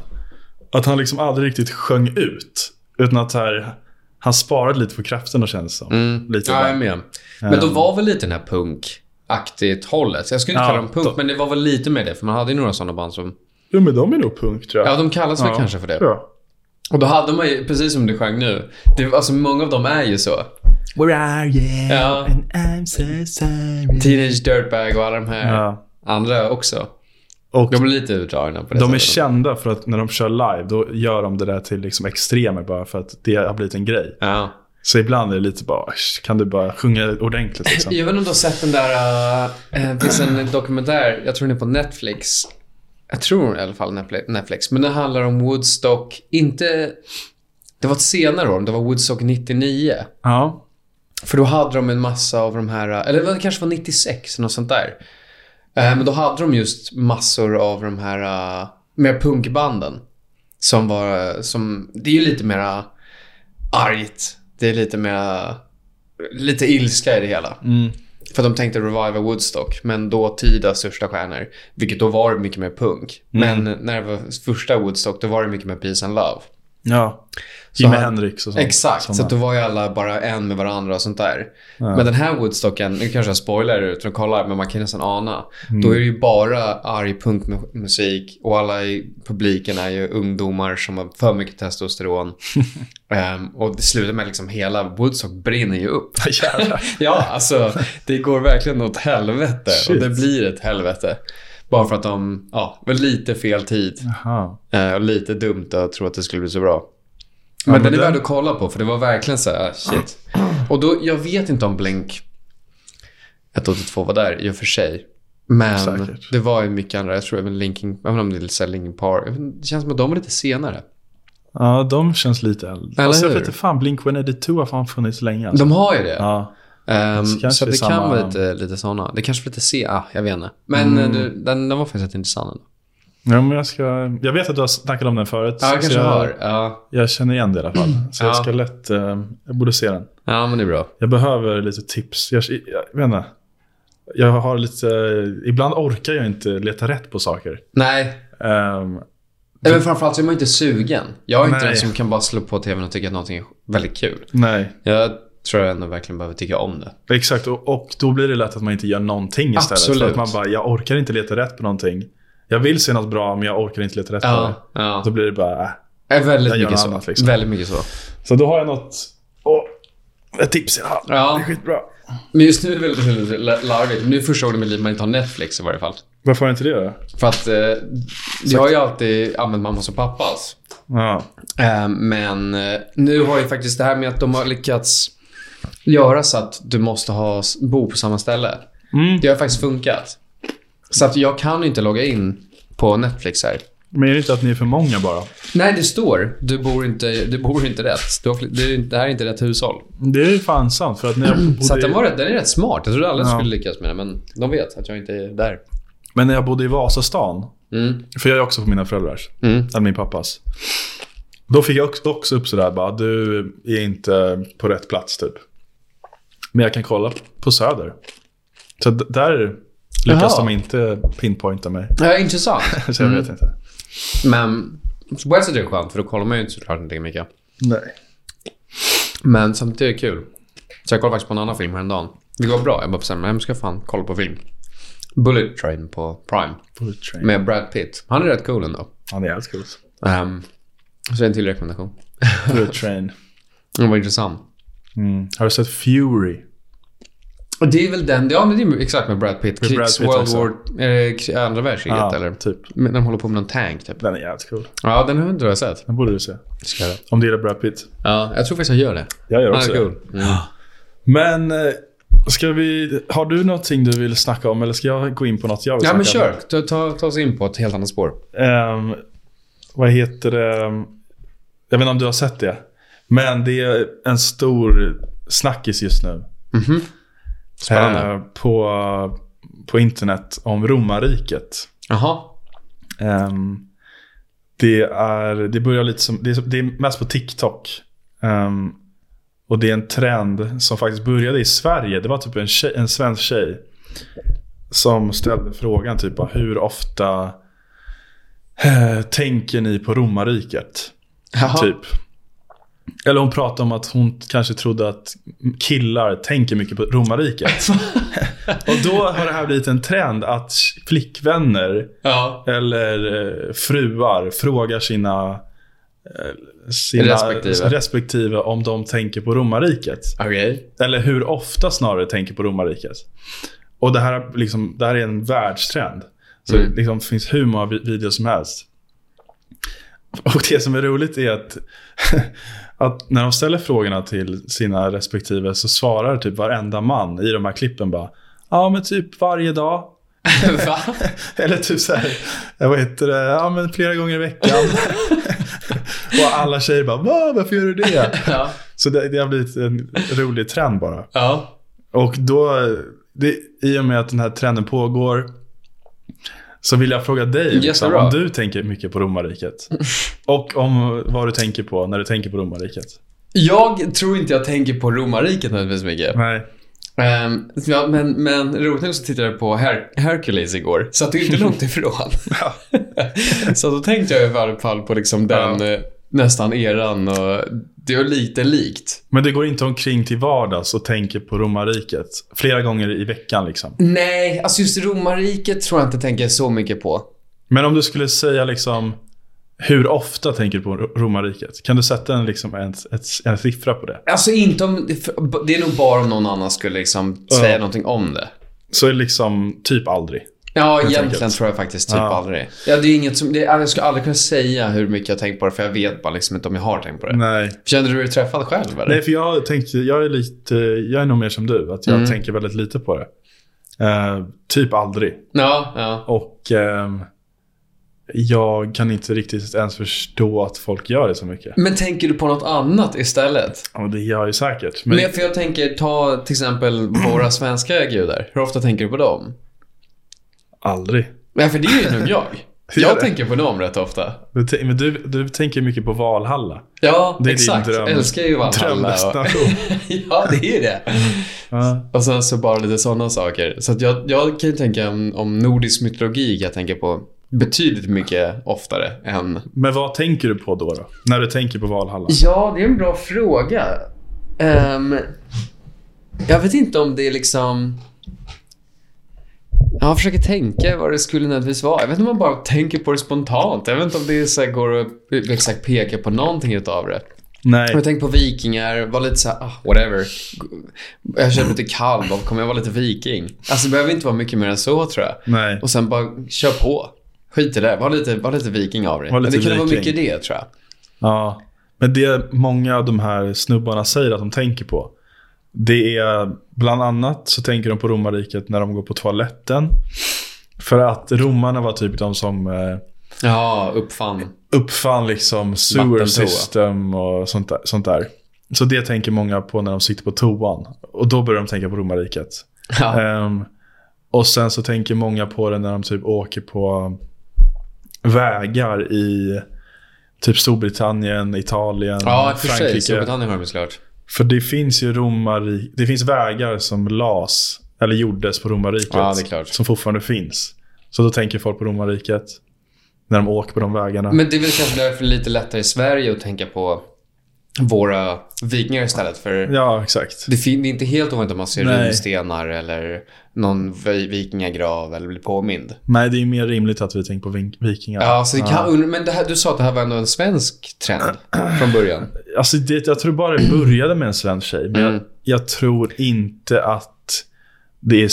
Att han liksom aldrig riktigt sjöng ut. Utan att så här, han sparade lite på krafterna känns det som. Mm. Lite Ja, jag är ibland. med. Men då var väl lite den här punkaktigt hållet. Jag skulle inte Ja, kalla dem punk, då- men det var väl lite med det. För man hade ju några sådana band som... Jo, men de är nog punk tror jag. Ja, de kallas väl kanske för det. tror jag. Och då hade man ju, precis som du sjöng nu. Det, alltså många av dem är ju så. Where are you? Ja. And I'm so sorry. Teenage Dirtbag och alla de här Ja. andra också. Och De är lite utdragna på det de är sättet. kända för att när de kör live, då gör de det där till liksom extremer bara för att det har blivit en grej. Ja. Så ibland är det lite bara, "Asch, kan du bara sjunga ordentligt liksom? Jag vet inte om du har sett den där... eh, Det finns en dokumentär, jag tror den är på Netflix. Jag tror i alla fall Netfli- Netflix. Men den handlar om Woodstock, inte... Det var ett senare år, det var Woodstock 99. Ja. För då hade de en massa av de här, eller det kanske var 96, något sånt där. Eh, Men då hade de just massor av de här eh, mer punkbanden. Som var, eh, som, det är ju lite mera argt. Det är lite mera, lite ilska i det hela. För de tänkte reviva Woodstock, men dåtida största stjärnor. Vilket då var mycket mer punk. Men när det var första Woodstock, då var det mycket mer peace and love. Ja. Så Jimi han- Hendrix och sånt. Exakt, så att Såna. då var ju alla bara en med varandra och sånt där. Ja. Men den här Woodstocken, nu kanske jag spoilar utan att kolla, men man kan nästan ana. Mm. Då är det ju bara arg punkmusik och alla i publiken är ju ungdomar som har för mycket testosteron. Ehm, och det slutar med liksom hela Woodstock brinner ju upp. Jävlar. Ja, alltså det går verkligen åt helvete och Shit. det blir ett helvete. Bara för att de, ja, var lite fel tid. Jaha. Eh, och lite dumt att tro att det skulle bli så bra. Men, men den är den- värd att kolla på för det var verkligen så här, shit. Och då, jag vet inte om Blink 182 var där i och för sig. Men Säkert. det var ju mycket andra. Jag tror även Linkin, även om det är lite så här Linkin Park. jag vet inte, Det känns som att de är lite senare. Ja, de känns lite äldre. Eller Eller hur? hur? Jag vet inte fan, Blink-182 har fan funnits länge. Alltså. De har ju det. Ja. Ehm, så kanske så det är det kan samma- vara lite, lite sådana. Det kanske blir lite se, ah, jag vet inte. Men eh, Mm. det- den, den var faktiskt rätt intressant. ändå. ja, men jag ska... Jag vet att du har snackat om den förut. Ja, så jag kanske jag, har. Ja. jag känner igen det i alla fall. Så Ja. jag ska lätt... eh, jag borde se den. ja, men det är bra. Jag behöver lite tips. Jag, jag, jag vet inte. Jag har lite... Ibland orkar jag inte leta rätt på saker. Nej, Ehm, Nej, Men framförallt så är man ju inte sugen. Jag är inte Nej. den som kan bara slå på tvn och tycka att någonting är väldigt kul. nej, Jag tror jag ändå verkligen behöver tycka om det. exakt. Och, och då blir det lätt att man inte gör någonting istället. För Absolut. att man bara, jag orkar inte leta rätt på någonting. Jag vill se något bra, men jag orkar inte leta rätt på det. Ja, ja. Då blir det bara, äh. Det är väldigt Jag gör mycket något så. annat, liksom. Väldigt mycket så. Så då har jag något... Åh, ett tips i alla fall. Ja. Det är skitbra. Men just nu är det väldigt, väldigt la- larvigt. Men nu är första gången i mitt liv man inte har Netflix i varje fall. Varför har jag inte det då? För att eh, jag har ju alltid använt mammas och pappas. Ja. Eh, men eh, nu har ju faktiskt det här med att de har lyckats göra så att du måste ha, s- bo på samma ställe. Mm. Det har faktiskt funkat. Så att jag kan ju inte logga in på Netflix här. Men är det inte att ni är för många bara? Nej, det står. Du bor inte, du bor inte rätt. Du har, fl- det, är- det här är inte rätt hushåll. Det är ju fan sant. För att när jag Så att bodde den, i, var rätt, den är rätt smart. Jag trodde alla Ja. skulle lyckas med det, men de vet att jag inte är där. men när jag bodde i Vasastan. Mm. För jag är också på mina föräldrars. Mm. Eller min pappas. Då fick jag också- också upp sådär bara, du är inte på rätt plats typ. Men jag kan kolla på Söder. Så d- där lyckas Jaha. Mm. de inte pinpointa mig. Ja, intressant. Så jag vet inte. Men på ett sätt är det skönt, för då kollar man ju inte såklart inte lika mycket. Nej. Men samtidigt är det kul. Så jag kollade faktiskt på en annan film häromdagen. Det går bra. Jag bara bestämde mig, jag ska fan kolla på film. Bullet Train på Prime. Bullet Train. Med Brad Pitt. Han är rätt cool ändå. Han är jävligt cool. Ehm, så en till rekommendation. Bullet Train. Den var intressant. Mm. Har du sett Fury? Och det är väl den, ja men det är exakt med Brad Pitt. Med Brad Krigs Pitt World också. War, eh, krig- andra världskriget Ja, eller? typ. Men de håller på med någon tank typ. Den är jävligt cool. Ja, den har inte jag sett. Den borde du se. Ska jag. Om du gillar Brad Pitt. Ja, jag tror faktiskt jag gör det. Jag gör Han också är det. cool. Mm. Men eh, ska vi, har du någonting du vill snacka om eller ska jag gå in på något jag vill Ja snacka men om? kör, ta, ta, ta oss in på ett helt annat spår. Ehm, vad heter det? Jag vet inte om du har sett det. Men det är en stor snackis just nu. Spännande. eh, på, på internet om romarriket. Jaha. Ehm, det, är, det börjar lite som, det är, det är mest på TikTok. Ehm, och det är en trend som faktiskt började i Sverige. Det var typ en, tjej, en svensk tjej som ställde frågan typ bara, hur ofta eh, tänker ni på romarriket? Jaha. Typ. Eller hon pratade om att hon kanske trodde att killar tänker mycket på romarriket. och då har det här blivit en trend att flickvänner Ja. eller eh, fruar frågar sina, eh, sina Respektive. respektive om de tänker på romarriket. Okej. Eller hur ofta snarare tänker på romarriket. Och det här, är liksom, det här är en världstrend. Så Mm. det liksom finns hur många vi- videos som helst. Och det som är roligt är att, att när de ställer frågorna till sina respektive så svarar typ varenda man i de här klippen bara Ja men typ varje dag. Va? Eller typ så här, vad heter det, ja men flera gånger i veckan. och alla tjejer bara, Va, varför gör du det? Ja. Så det, det har blivit en rolig trend bara. Ja. Och då, det, i och med att den här trenden pågår, så vill jag fråga dig liksom, Jättebra. om du tänker mycket på romarriket. Och om vad du tänker på när du tänker på romarriket. Jag tror inte jag tänker på romarriket nödvändigtvis mycket. Nej. Ehm, ja, men, men roligt nog så tittade jag på Her- Hercules igår, så att det är inte långt ifrån. så då tänkte jag i varje fall på liksom den, eh, nästan eran och det är lite likt. Men det går inte omkring till vardags och tänker på romarriket. Flera gånger i veckan liksom. Nej, alltså just romarriket tror jag inte tänker så mycket på. Men om du skulle säga liksom hur ofta tänker du på ro- romarriket? Kan du sätta en, liksom, en, ett, en siffra på det? Alltså inte om, det är nog bara om någon annan skulle liksom säga någonting om det. Så är det liksom typ aldrig. Ja, egentligen enkelt. tror jag faktiskt typ Ja. aldrig. Ja, det är inget som, det, jag skulle aldrig kunna säga hur mycket jag tänkt på det, för jag vet bara liksom inte om jag har tänkt på det. Nej. Kände du dig träffad själv eller? Nej, för jag tänkte, jag är lite, jag är nog mer som du. Att jag Mm. tänker väldigt lite på det. Eh, typ aldrig. Ja, ja. Och ehm, jag kan inte riktigt ens förstå att folk gör det så mycket. Men tänker du på något annat istället? Ja, det gör jag ju säkert. Men, Men... för jag tänker, ta till exempel våra svenska gudar. Hur ofta tänker du på dem? aldrig. Nej, för det är ju nog jag. Hur gör Jag det? tänker på dem rätt ofta. Men tänk- Men du, du tänker mycket på Valhalla. Ja, Det är exakt. din dröm. Älskar ju Valhalla. Och... Drömdestination. ja, det är ju det. Ja. Och sen så bara lite sådana saker. Så att jag, jag kan ju tänka om, om nordisk mytologi, jag tänker på betydligt mycket oftare än... Men vad tänker du på då, då? När du tänker på Valhalla? Ja, det är en bra fråga. Ehm, jag vet inte om det är liksom... Jag försöker tänka vad det skulle nödvändigtvis vara. Jag vet inte om man bara tänker på det spontant. Jag vet inte om det är så här, går att exakt peka på någonting utav det. Nej. Jag tänkte på vikingar, var lite såhär, ah, whatever. Jag känner mig lite kall, bara, kommer jag vara lite viking? Alltså det behöver inte vara mycket mer än så tror jag. Nej. Och sen bara, kör på. Skit i det, var lite, var lite viking av dig. Var Men lite det kan vara viking. mycket det tror jag. Ja. Men det många av de här snubbarna säger att de tänker på. Det är bland annat så tänker de på romarriket när de går på toaletten. För att romarna var typ de som eh, Ja, uppfann. uppfann liksom sewer Vattentoa. system och sånt där, sånt där. Så det tänker många på när de sitter på toan. Och då börjar de tänka på romarriket. Ja. Ehm, och sen så tänker många på det när de typ åker på vägar i typ Storbritannien, Italien, Ja, i och för sig. Storbritannien har de ju såklart. För det finns ju romari- det finns vägar som las eller gjordes på romarriket Ja, det är klart. som fortfarande finns. Så då tänker folk på romarriket när de åker på de vägarna. Men det är väl kanske därför lite lättare i Sverige att tänka på våra vikingar istället. För Ja, exakt. Det, fin- det är inte helt ovanligt om man ser Nej. runstenar eller någon vi- vikingagrav eller blir påmind. Nej, det är mer rimligt att vi tänker på vink- vikingar. Ja, så det kan, men det här, du sa att det här var ändå en svensk trend från början. Alltså det, jag tror bara det började med en svensk tjej. Men jag, Mm. jag tror inte att det är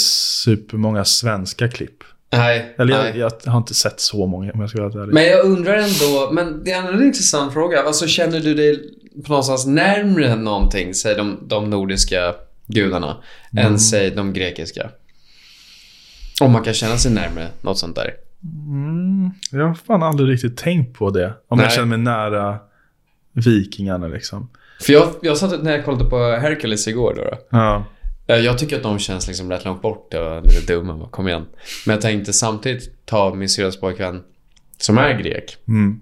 supermånga svenska klipp. Nej. Eller nej. jag, jag har inte sett så många om jag ska vara ärlig. Men jag undrar ändå, men det är ändå en intressant fråga. Alltså känner du dig på någonstans närmre någonting, säg de, de nordiska gudarna, än säg de grekiska? Om man kan känna sig närmre något sånt där. Mm, Jag har fan aldrig riktigt tänkt på det. Om jag Nej. känner mig nära vikingarna liksom. För jag, jag satt när jag kollade på Hercules igår då. då Ja. Eh, Jag tycker att de känns liksom rätt långt bort och lite dumma. Bara, Kom igen. Men jag tänkte samtidigt ta min syrras pojkvän som är grek. Mm.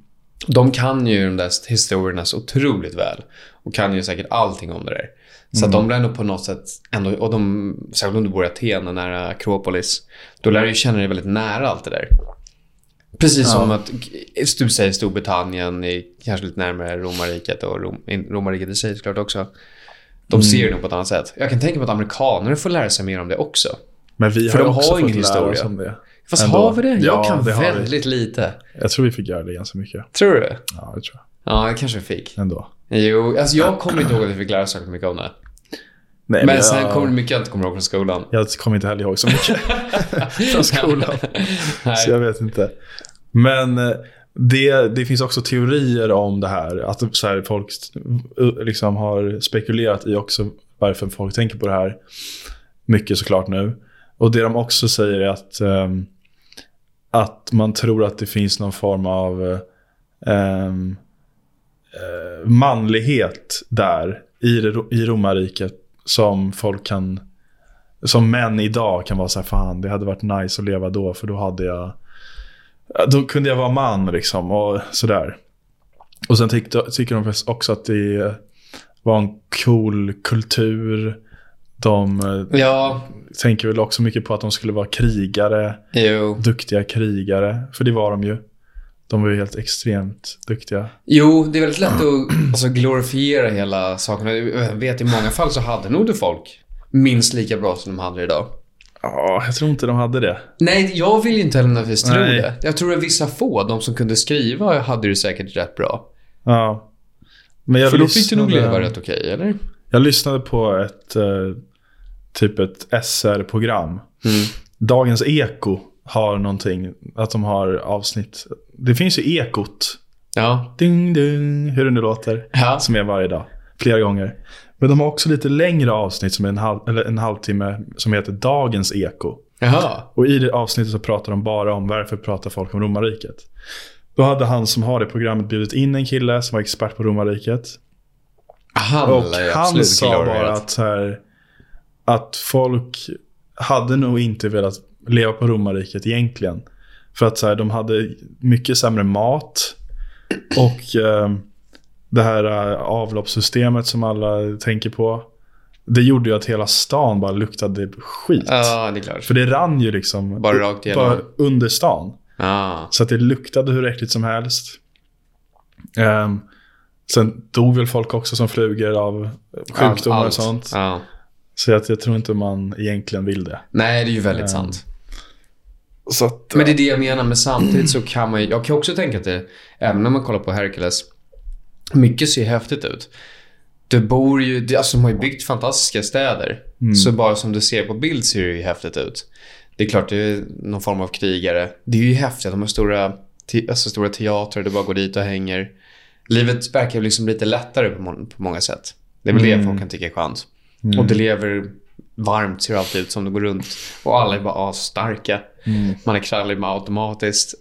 De kan ju de där historierna så otroligt väl och kan ju säkert allting om det där. Så att de lär nog på något sätt ändå, och de, särskilt om du bor i Aten och nära Akropolis, då lär du ju känna dig väldigt nära allt det där. Precis som att du säger Storbritannien, är kanske lite närmare romarriket och Rom, in- romarriket i sig såklart också. De ser det nog på ett annat sätt. Jag kan tänka mig att amerikaner får lära sig mer om det också. Men vi För har, de också har fått ingen lära oss historia. om det. Fast Ändå. har vi det? Jag Ja, kan det har vi. väldigt lite. Jag tror vi fick göra det ganska mycket. Tror du? Ja, det tror jag. Ja, det kanske vi fick. Ändå. Jo, alltså jag kommer inte ihåg att vi fick lära oss särskilt mycket om det. Nej, Men sen jag, kommer det mycket jag inte kommer ihåg från skolan. jag kommer inte heller ihåg så mycket. Från skolan. Så Nej. jag vet inte. Men eh, det, det finns också teorier om det här. Att så här, folk eh, liksom har spekulerat i också varför folk tänker på det här. Mycket såklart nu. Och det de också säger är att, ehm, att man tror att det finns någon form av eh, ehm, eh, manlighet där i, det, ro- i romarriket som folk kan som män idag kan vara så här, fan det hade varit nice att leva då för då hade jag då kunde jag vara man liksom och sådär. Och sen tyckte, tycker de faktiskt också att det var en cool kultur. De eh, Ja, tänker väl också mycket på att de skulle vara krigare, jo. duktiga krigare, för det var de ju. De var ju helt extremt duktiga. Jo, det är väldigt lätt att alltså, glorifiera hela saken. Jag vet i många fall så hade nog det folk minst lika bra som de hade det idag. Ja, jag tror inte de hade det. Nej, jag vill inte heller nödvändigtvis tro Nej. det. Jag tror att vissa få, de som kunde skriva, hade det säkert rätt bra. Ja. Men jag För då fick du nog lyssnade- leva rätt okej, eller? Jag lyssnade på ett eh, typ ett Mm. SR-program. Dagens Eko har någonting, att de har avsnitt. Det finns ju Ekot. Ja. Ding, ding, hur det nu låter. ja. Som är varje dag, flera gånger. Men de har också lite längre avsnitt som är en, halv, eller en halvtimme som heter Dagens Eko. Jaha. Och i det avsnittet så pratar de bara om varför pratar folk om romarriket. Då hade han som har det programmet bjudit in en kille som var expert på romarriket. Han Och lär ju han absolut sa glorifiera bara det. att, så här, att folk hade nog inte velat leva på romarriket egentligen. För att så här, de hade mycket sämre mat. Och eh, det här eh, avloppssystemet som alla tänker på. Det gjorde ju att hela stan bara luktade skit. Ja, det är klart. För det rann ju liksom Bara rakt igenom. bara under stan. Ja. Så att det luktade hur äckligt som helst. Ehm, sen dog väl folk också som flugor av sjukdomar Allt. och sånt. Ja. Så att jag tror inte man egentligen vill det. Nej, det är ju väldigt Ja. sant. Så att, Men det är det jag menar. Men samtidigt så kan man ju... Jag kan också tänka att det, även om man kollar på Hercules, mycket ser häftigt ut. Du bor ju... det- Alltså de har ju byggt fantastiska städer. Så bara som du ser på bild ser det ju häftigt ut. Det är klart, det är någon form av krigare. Det är ju häftigt. De har stora, te, alltså stora teatrar, du bara går dit och hänger. Livet verkar ju liksom lite lättare på, må- på många sätt. Det är väl det folk kan tycka är skönt. Och det lever varmt, ser alltid ut som det går runt. Och alla är bara asstarka. Man är krallig med automatiskt.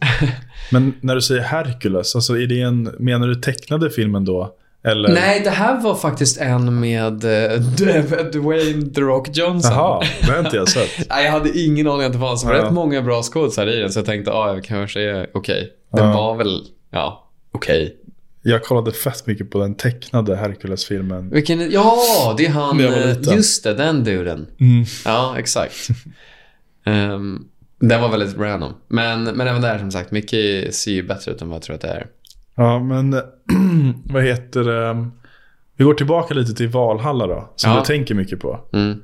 men när du säger Hercules, alltså är det en, menar du tecknade filmen då? Eller? Nej, det här var faktiskt en med eh, Dwayne The Rock Johnson. Jaha, det har inte jag sett. Nej, jag hade ingen aning att det fanns. Det var Ja. rätt många bra skådisar i den, så jag tänkte ah, jag kanske är okej. Den Ja. var väl, ja, okej. Jag kollade fett mycket på den tecknade Hercules-filmen. Vilken, ja, det är han. När jag var eh, liten. Just det, den duden. Mm. Ja, exakt. um, den var väldigt random. Men, men även där, som sagt, mycket ser ju bättre ut än vad jag tror att det är. Ja, men vad heter det? Vi går tillbaka lite till Valhalla då, som Ja. du tänker mycket på. Mm.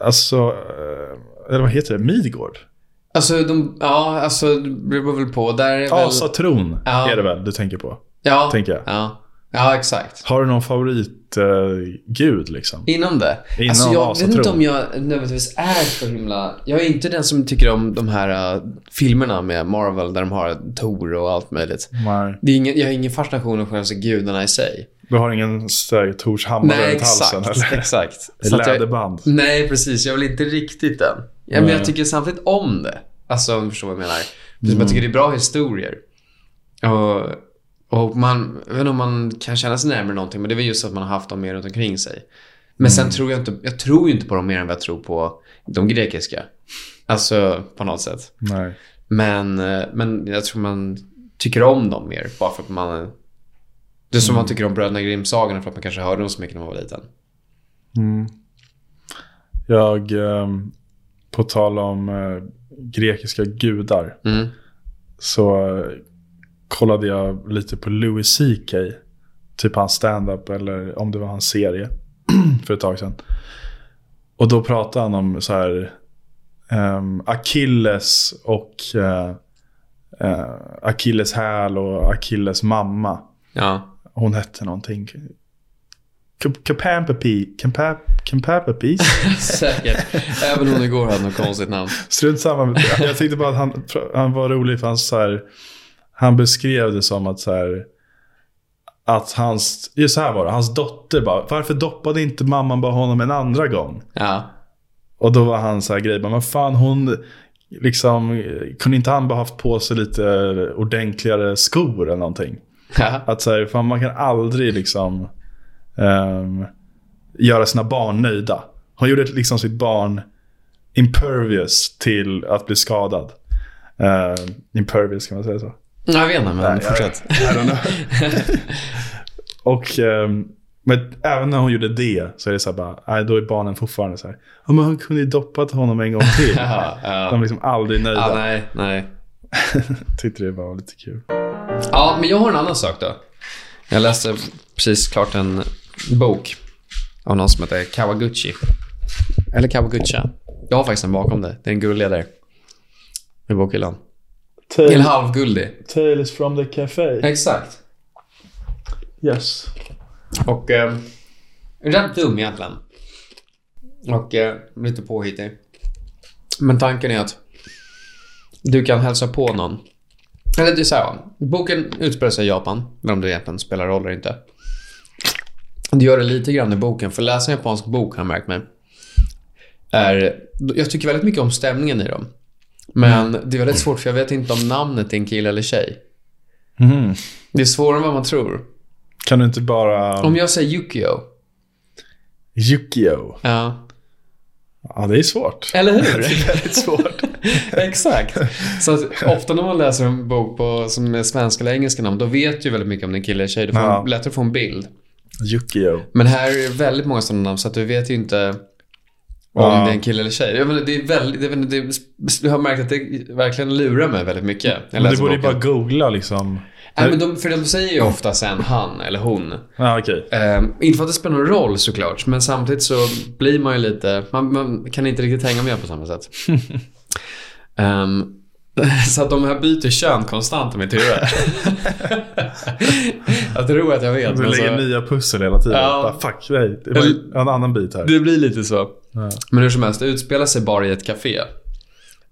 Alltså, eh, eller vad heter det? Midgård? Alltså, de, ja, alltså, det beror väl på. Där är väl... Asatron Ja. är det väl du tänker på? ja, tänker jag. Ja, ja exakt. Har du någon favoritgud gud liksom? Inom det? Inom alltså jag vet asatron. inte om jag nödvändigtvis är så himla... Jag är inte den som tycker om de här äh, filmerna med Marvel där de har Tor och allt möjligt. Nej. Det är ingen, jag har ingen fascination för alltså, gudarna i sig. Du har ingen så här Tors hammare Nej, runt halsen? exakt. eller? exakt. Det är Så att jag, Läderband. nej, precis. Jag vill inte riktigt den. Ja, men jag Nej. tycker samtidigt om det. Alltså, om du förstår vad jag menar. Precis, men Jag tycker det är bra historier. Och, och man, jag vet inte om man kan känna sig närmare någonting, men det är väl just att man har haft dem mer runt omkring sig. Men sen tror jag inte, jag tror ju inte på dem mer än vad jag tror på de grekiska. Alltså, på något sätt. Nej. Men, eh, men jag tror man tycker om dem mer, bara för att man... Det är som man tycker om Bröderna Grimm-sagorna för att man kanske hörde dem så mycket när man var liten. Mm. Jag, ehm, på tal om eh, grekiska gudar, Mm. så eh, kollade jag lite på Louis CK. Typ hans stand-up eller om det var hans serie för ett tag sedan. Och då pratade han om så här ehm, Achilles och eh, eh, Achilles häl och Achilles mamma. Ja. Hon hette någonting. Campampapi. Campampapis. Säkert. Även hon igår hade något konstigt namn. Strunt samma. Jag tyckte bara att han, han var rolig för han, så här, han beskrev det som att så här, att hans, just så här var det, hans dotter bara, varför doppade inte mamman bara honom en andra gång? Ja. Och då var han så här grej, bara, men fan hon, liksom, kunde inte han bara haft på sig lite ordentligare skor eller någonting? Ja. Att så här, fan, man kan aldrig liksom ehm, göra sina barn nöjda. Hon gjorde liksom sitt barn impervious till att bli skadad. Ehm, impervious kan man säga så. Jag vet inte, men jag- fortsätt. Och ehm, men även när hon gjorde det så är det så här bara, nej då är barnen fortfarande så här. Ja men hon kunde ju doppat honom en gång till. Ja, ja. De är liksom aldrig nöjda. Ja, nej, nej. Tyckte det var lite kul. Ja, men jag har en annan sak då. Jag läste precis klart en bok av någon som heter Kawaguchi. Eller Kawaguchi. Jag har faktiskt en bakom det. Det är en gullig där. I bokhyllan. En halvguldig. Tales from the Cafe. Exakt. Yes. Och eh, rätt dum egentligen. Och eh, lite påhittig. Men tanken är att du kan hälsa på någon. Eller det är så här, va. boken utspelar sig i Japan, men om det egentligen spelar roll eller inte. Det gör det lite grann i boken, för läsa en japansk bok har jag märkt mig. Är, jag tycker väldigt mycket om stämningen i dem. Men det är väldigt svårt för jag vet inte om namnet är en kille eller tjej. Mhm. Det är svårare än vad man tror. Kan du inte bara... Om jag säger Yukio. Yukio. Ja. Ja, det är svårt. Eller hur? det är väldigt svårt. Exakt. Så att, ofta när man läser en bok på, som är svenska eller engelska namn, då vet du väldigt mycket om den kille eller tjej. Du får Ja. en, lättare att få en bild. Yukio. Men här är det väldigt många sådana namn, så att du vet ju inte om Ja. det är en kille eller tjej. Jag menar, det är väldigt, jag menar, det är, jag har märkt att det verkligen lurar mig väldigt mycket. när jag Men du läser borde ju boken. bara googla liksom. Nej, men de, för de säger ju ofta sen han eller hon. Ja, okej. Ehm, inte för att det spelar någon roll såklart, men samtidigt så blir man ju lite... Man, man kan inte riktigt hänga med på samma sätt. Ehm, så att de här byter kön konstant i mitt huvud. jag tror att jag vet. Du Men lägger så, nya pussel hela tiden. Ja. Bara, fuck, nej. Det var ju en annan bit här. det blir lite så. Ja. Men hur som helst, det utspelar sig bara i ett café.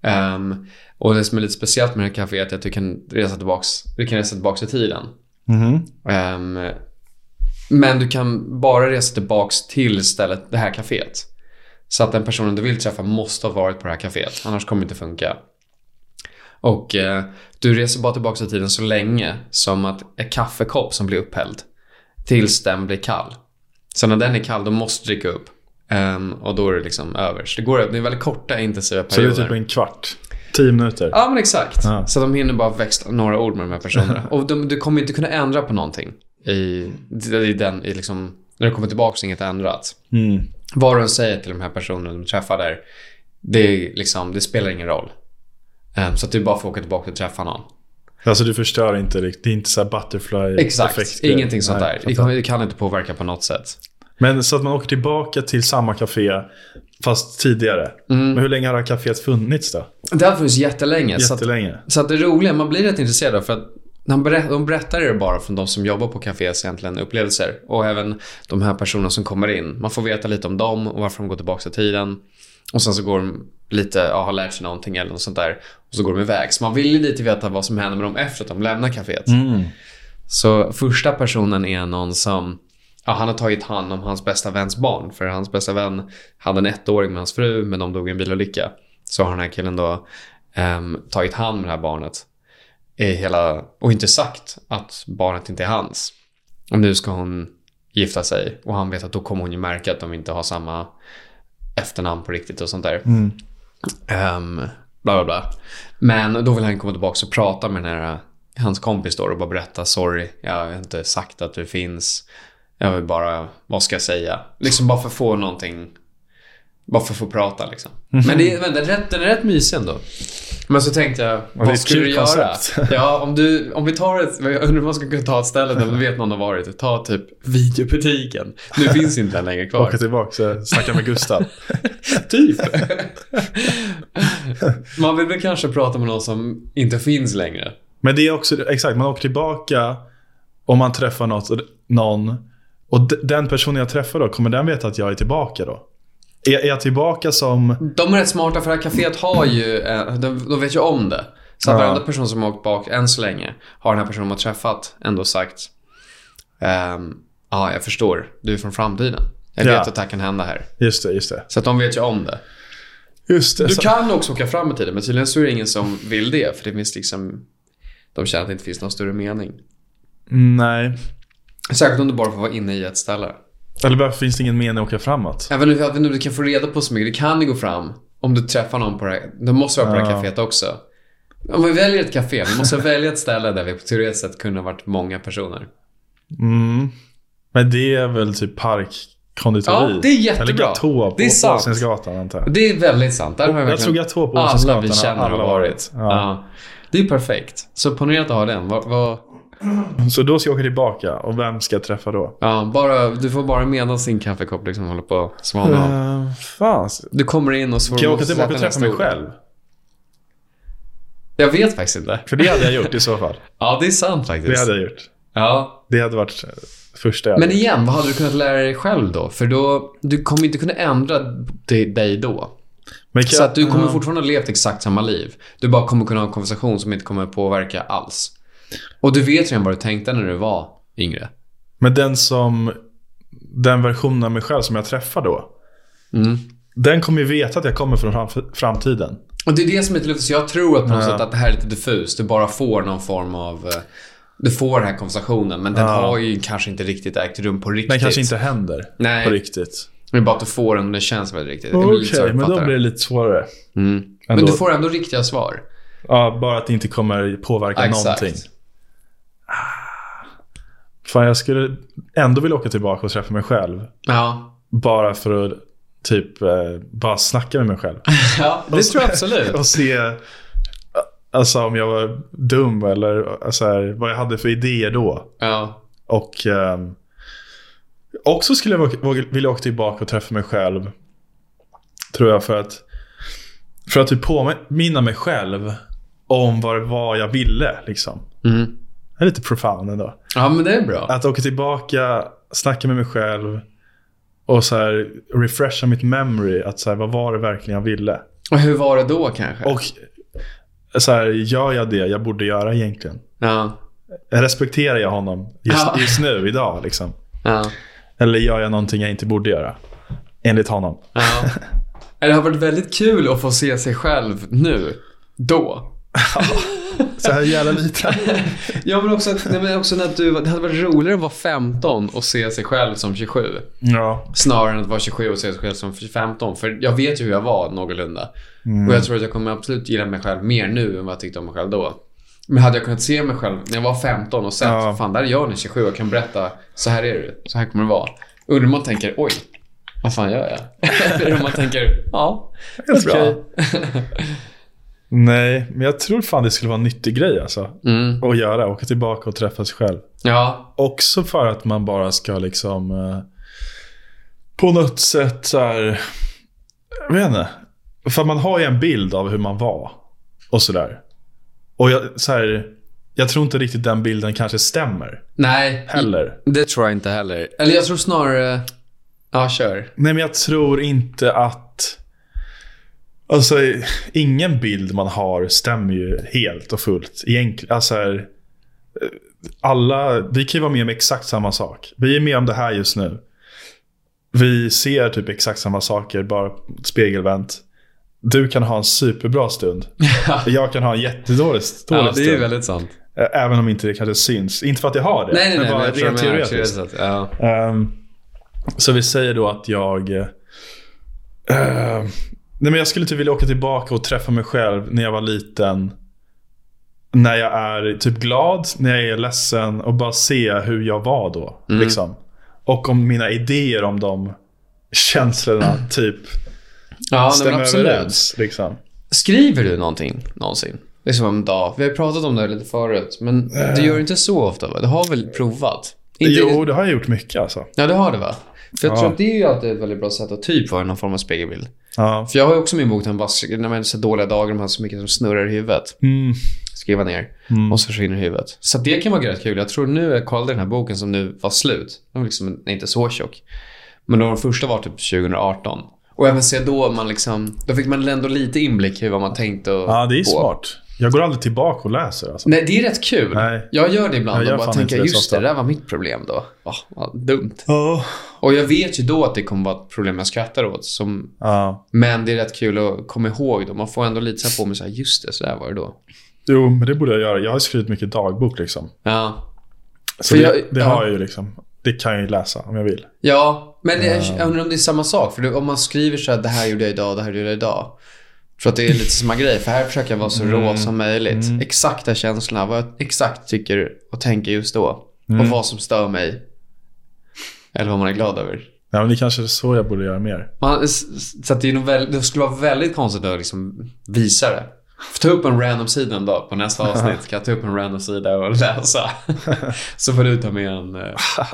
Ehm, och det som är lite speciellt med det här caféet är att du kan resa tillbaks, du kan resa tillbaks i tiden. Mhm. Ehm, men du kan bara resa tillbaks till stället, det här kaféet. Så att den personen du vill träffa måste ha varit på det här kaféet. Annars kommer det inte funka. Och eh, du reser bara tillbaka i tiden så länge som att en kaffekopp som blir upphälld. Tills den blir kall. Så när den är kall, då måste du dricka upp. Ehm, och då är det liksom över. Så det, går, det är väldigt korta intensiva Så det är perioder. typ en kvart. Tio minuter. Ja, men exakt. Ja. Så de hinner bara växla några ord med de här personerna. Och de, du kommer inte kunna ändra på någonting i, i den, i liksom, när du kommer tillbaka så är inget ändrat. Mm. Vad de säger till de här personerna du träffar där, det, är liksom, det spelar ingen roll. Ehm, så att du bara får åka tillbaka och träffa någon. Alltså du förstör inte riktigt. Det är inte så här butterfly Exakt, effekter. ingenting sånt Nej, där. Det fattar. kan, det kan inte påverka på något sätt. Men så att man åker tillbaka till samma café fast tidigare. Mm. Men hur länge har det här caféet funnits då? Det har funnits jättelänge. Så att, Jättelänge. så att det roliga, man blir rätt intresserad av för att de berättar, de berättar det bara från de som jobbar på kaféets egentligen upplevelser och även de här personerna som kommer in. Man får veta lite om dem och varför de går tillbaka i tiden. Och sen så går de lite, ja, har lärt sig någonting eller något sånt där. Och så går de iväg. Så man vill ju lite veta vad som händer med dem efter att de lämnar kaféet. Så första personen är någon som Ja, han har tagit hand om hans bästa väns barn. För hans bästa vän hade en ettåring med hans fru, men de dog i en bilolycka. Så har den här killen då ehm, tagit hand om det här barnet. I hela, och inte sagt att barnet inte är hans. Och nu ska hon gifta sig och han vet att då kommer hon ju märka att de inte har samma efternamn på riktigt och sånt där. Mm. Ehm, bla bla bla. Men då vill han komma tillbaka och prata med den här, hans kompis då och bara berätta sorry, jag har inte sagt att du finns. Jag vill bara, vad ska jag säga? Liksom bara för att få någonting, bara för att få prata liksom. Mm. Men, det, är- men den, är rätt, den är rätt mysig ändå. Men så tänkte jag, det är vad ett skulle kul du göra? koncept. Ja, om, du, om vi tar ett, jag undrar om man skulle kunna ta ett ställe där man vet någon har varit. Ta typ videobutiken. Nu finns inte den längre kvar. Åka tillbaka och snacka med Gustav. Typ. Man vill väl kanske prata med någon som inte finns längre. Men det är också, exakt, man åker tillbaka om man träffar något, någon. Och d- den personen jag träffar då, kommer den veta att jag är tillbaka då? Är, är jag tillbaka som... De är rätt smarta för det här kaféet har ju, eh, de, de vet ju om det. Så att Ja. varenda person som har åkt bak än så länge har den här personen man träffat ändå sagt ehm, Ja, jag förstår. Du är från framtiden. Jag Ja. vet att det här kan hända här. Just det, just det. Så att de vet ju om det. Just det. Du så- kan också åka fram i tiden, men tydligen så är det ingen som vill det. För det finns liksom... De känner att det inte finns någon större mening. Nej. Särskilt om du bara får vara inne i ett ställe. Eller varför finns det ingen mening att åka framåt? Även om, även om du kan få reda på så mycket. Det kan ju gå fram om du träffar någon på det här. De måste vara på det här Ja. kaféet också. Om vi väljer ett kafé, vi måste välja ett ställe där vi på teoretiskt sett kunde ha varit många personer. Mm. Men det är väl typ parkkonditori? Ja, det är jättebra. Eller gatå på Det är sant. Åsensgatan antar jag. Det är väldigt sant. Där har jag Jag tror verkligen gatå på alla vi Åsensgatan känner har varit. Ja. Ja. Det är perfekt. Så ponera att du har den. Vad- vad- Så då ska jag åka tillbaka och vem ska jag träffa då? ja, bara, du får bara medan sin kaffekopp liksom håller på att svalna av. Eh, fan. Du kommer in och svor Kan jag åka motsätta tillbaka och träffa nästa mig ord. själv? Jag vet faktiskt inte. För det hade jag gjort i så fall. Ja, det är sant faktiskt. Det hade jag gjort. Ja, Det hade varit första jag Men hade. igen, vad hade du kunnat lära dig själv då? För då, du kommer inte kunna ändra di- dig då. Men kan Så att du kommer Ja. fortfarande ha levt exakt samma liv. Du bara kommer kunna ha en konversation som inte kommer påverka alls. Och du vet redan vad du tänkte när du var yngre. Men den som... Den versionen av mig själv som jag träffar då. Mm. Den kommer ju veta att jag kommer från framf- framtiden. Och det är det som är lite lustigt. Så jag tror att på något Ja. sätt att det här är lite diffust. Du bara får någon form av... eh, Du får den här konversationen, men den Ja. har ju kanske inte riktigt ägt rum på riktigt. Den kanske inte händer Nej. på riktigt. Det är bara att du får den och det känns väldigt riktigt. Det är väl Okej, lite så jag men då uppfattar blir det lite svårare. Mm. Men ändå. du får ändå riktiga svar. Ja, bara att det inte kommer påverka någonting. Ah. Fan, jag skulle ändå vilja åka tillbaka och träffa mig själv. Ja, Bara för att typ eh, bara snacka med mig själv. Ja, det Och se- tror jag absolut. Och se alltså, om jag var dum eller alltså, här, vad jag hade för idéer då. Ja. Och ehm, också skulle jag våga- våga- vilja åka tillbaka och träffa mig själv. Tror jag för att för att typ påminna mig själv om vad det var jag ville. Liksom. Mm. Det är lite profound ändå. Ja, men det är bra. Att åka tillbaka, snacka med mig själv och så här refresha mitt memory. Att så här, vad var det verkligen jag ville? Och hur var det då kanske? Och eh, så här, gör jag det jag borde göra egentligen? Ja. Respekterar jag honom just, Ja. just nu, idag? Liksom? Ja. Eller gör jag någonting jag inte borde göra? Enligt honom. ja. Det har varit väldigt kul att få se sig själv nu. Då. Så här jävla liten. Jag vill också, att- nej, men också när du, det hade varit roligare att vara 15 och se sig själv som 27. Ja. Snarare än att vara 27 och se sig själv som 15. För jag vet ju hur jag var någorlunda. Mm. Och jag tror att jag kommer absolut gilla mig själv mer nu än vad jag tyckte om mig själv då. Men hade jag kunnat se mig själv när jag var 15 och sett, Ja. fan där är jag när jag är 27 och kan berätta, så här är du, så här kommer det vara. Undrar om man tänker, oj, vad fan gör jag? Eller om man tänker, ja, Helt bra. okej. Nej, men jag tror fan det skulle vara en nyttig grej alltså. Mm. Att göra. Åka tillbaka och träffa sig själv. Ja, Också för att man bara ska liksom eh, på något sätt så här, jag vet inte. För man har ju en bild av hur man var och sådär. Och jag, så här, jag tror inte riktigt den bilden kanske stämmer nej. heller. Det tror jag inte heller. Eller jag tror snarare, ja, kör. Nej men jag tror inte att, alltså ingen bild man har stämmer ju helt och fullt egentligen. Alltså, här, eh, alla, vi kan ju vara med om exakt samma sak. Vi är med om det här just nu. Vi ser typ exakt samma saker, bara spegelvänt. Du kan ha en superbra stund. Jag kan ha en jättedålig dålig Ja, det är stund. väldigt sant. Ä- Även om inte det kanske syns. Inte för att jag har det, Nej, nej, nej. men men bara jag tror rent jag menar teoretiskt. teoretiskt, Ja. Ehm, så vi säger då att jag... eh, ehm, nej men jag skulle inte vilja åka tillbaka och träffa mig själv när jag var liten. När jag är typ glad, när jag är ledsen och bara se hur jag var då. Mm. Liksom. Och om mina idéer om de känslorna typ Ja, nej, stämmer men absolut. överens. Liksom. Skriver du någonting någonsin? Liksom om en dag. Vi har pratat om det här lite förut, men du gör inte så ofta va? Du har väl provat? Inte Jo, det har jag gjort mycket alltså. Ja, det har du va? För jag Ja. tror att det är ju alltid ett väldigt bra sätt att typ vara någon form av spegelbild. Ja. För jag har ju också min bok, den bara, när man har så dåliga dagar, man har så mycket som snurrar i huvudet. Mm. Skriva ner och så försvinner huvudet. Så att det kan vara rätt kul. Jag tror nu, jag kollade den här boken som nu var slut. Den var liksom inte så tjock. Men då den första var typ 2018. Och även se då man liksom, då fick man ändå lite inblick i vad man tänkte och ja, det är på. smart. Jag går aldrig tillbaka och läser alltså. Nej, det är rätt kul. Nej. Jag gör det ibland Jag gör och bara fan tänker, inte det så just det, det ofta." där var mitt problem då. Åh, vad dumt. Ja. Och jag vet ju då att det kommer vara ett problem jag skrattar åt. Som, Ja. men det är rätt kul att komma ihåg då. Man får ändå lite så här på mig, så här, just det, så där var det då. Jo, men det borde jag göra. Jag har skrivit mycket dagbok liksom. Ja, Så För det, jag- det ja. har jag ju liksom. Det kan jag ju läsa om jag vill. ja men jag, jag undrar om det är samma sak. För det, om man skriver så här, det här gjorde jag idag, det här gjorde jag idag. För att det är lite samma grej. För här försöker jag vara så Mm. rå som möjligt. Exakta känslorna, vad jag exakt tycker och tänker just då. Mm. Och vad som stör mig. Eller vad man är glad över. Ja, men det kanske är så jag borde göra mer. Man, s- s- så att det, är nog väl, det skulle vara väldigt konstigt att liksom visa det. Får ta upp en random sida en dag på nästa avsnitt. Kan jag ta upp en random sida och läsa? Så får du ta med en... eh,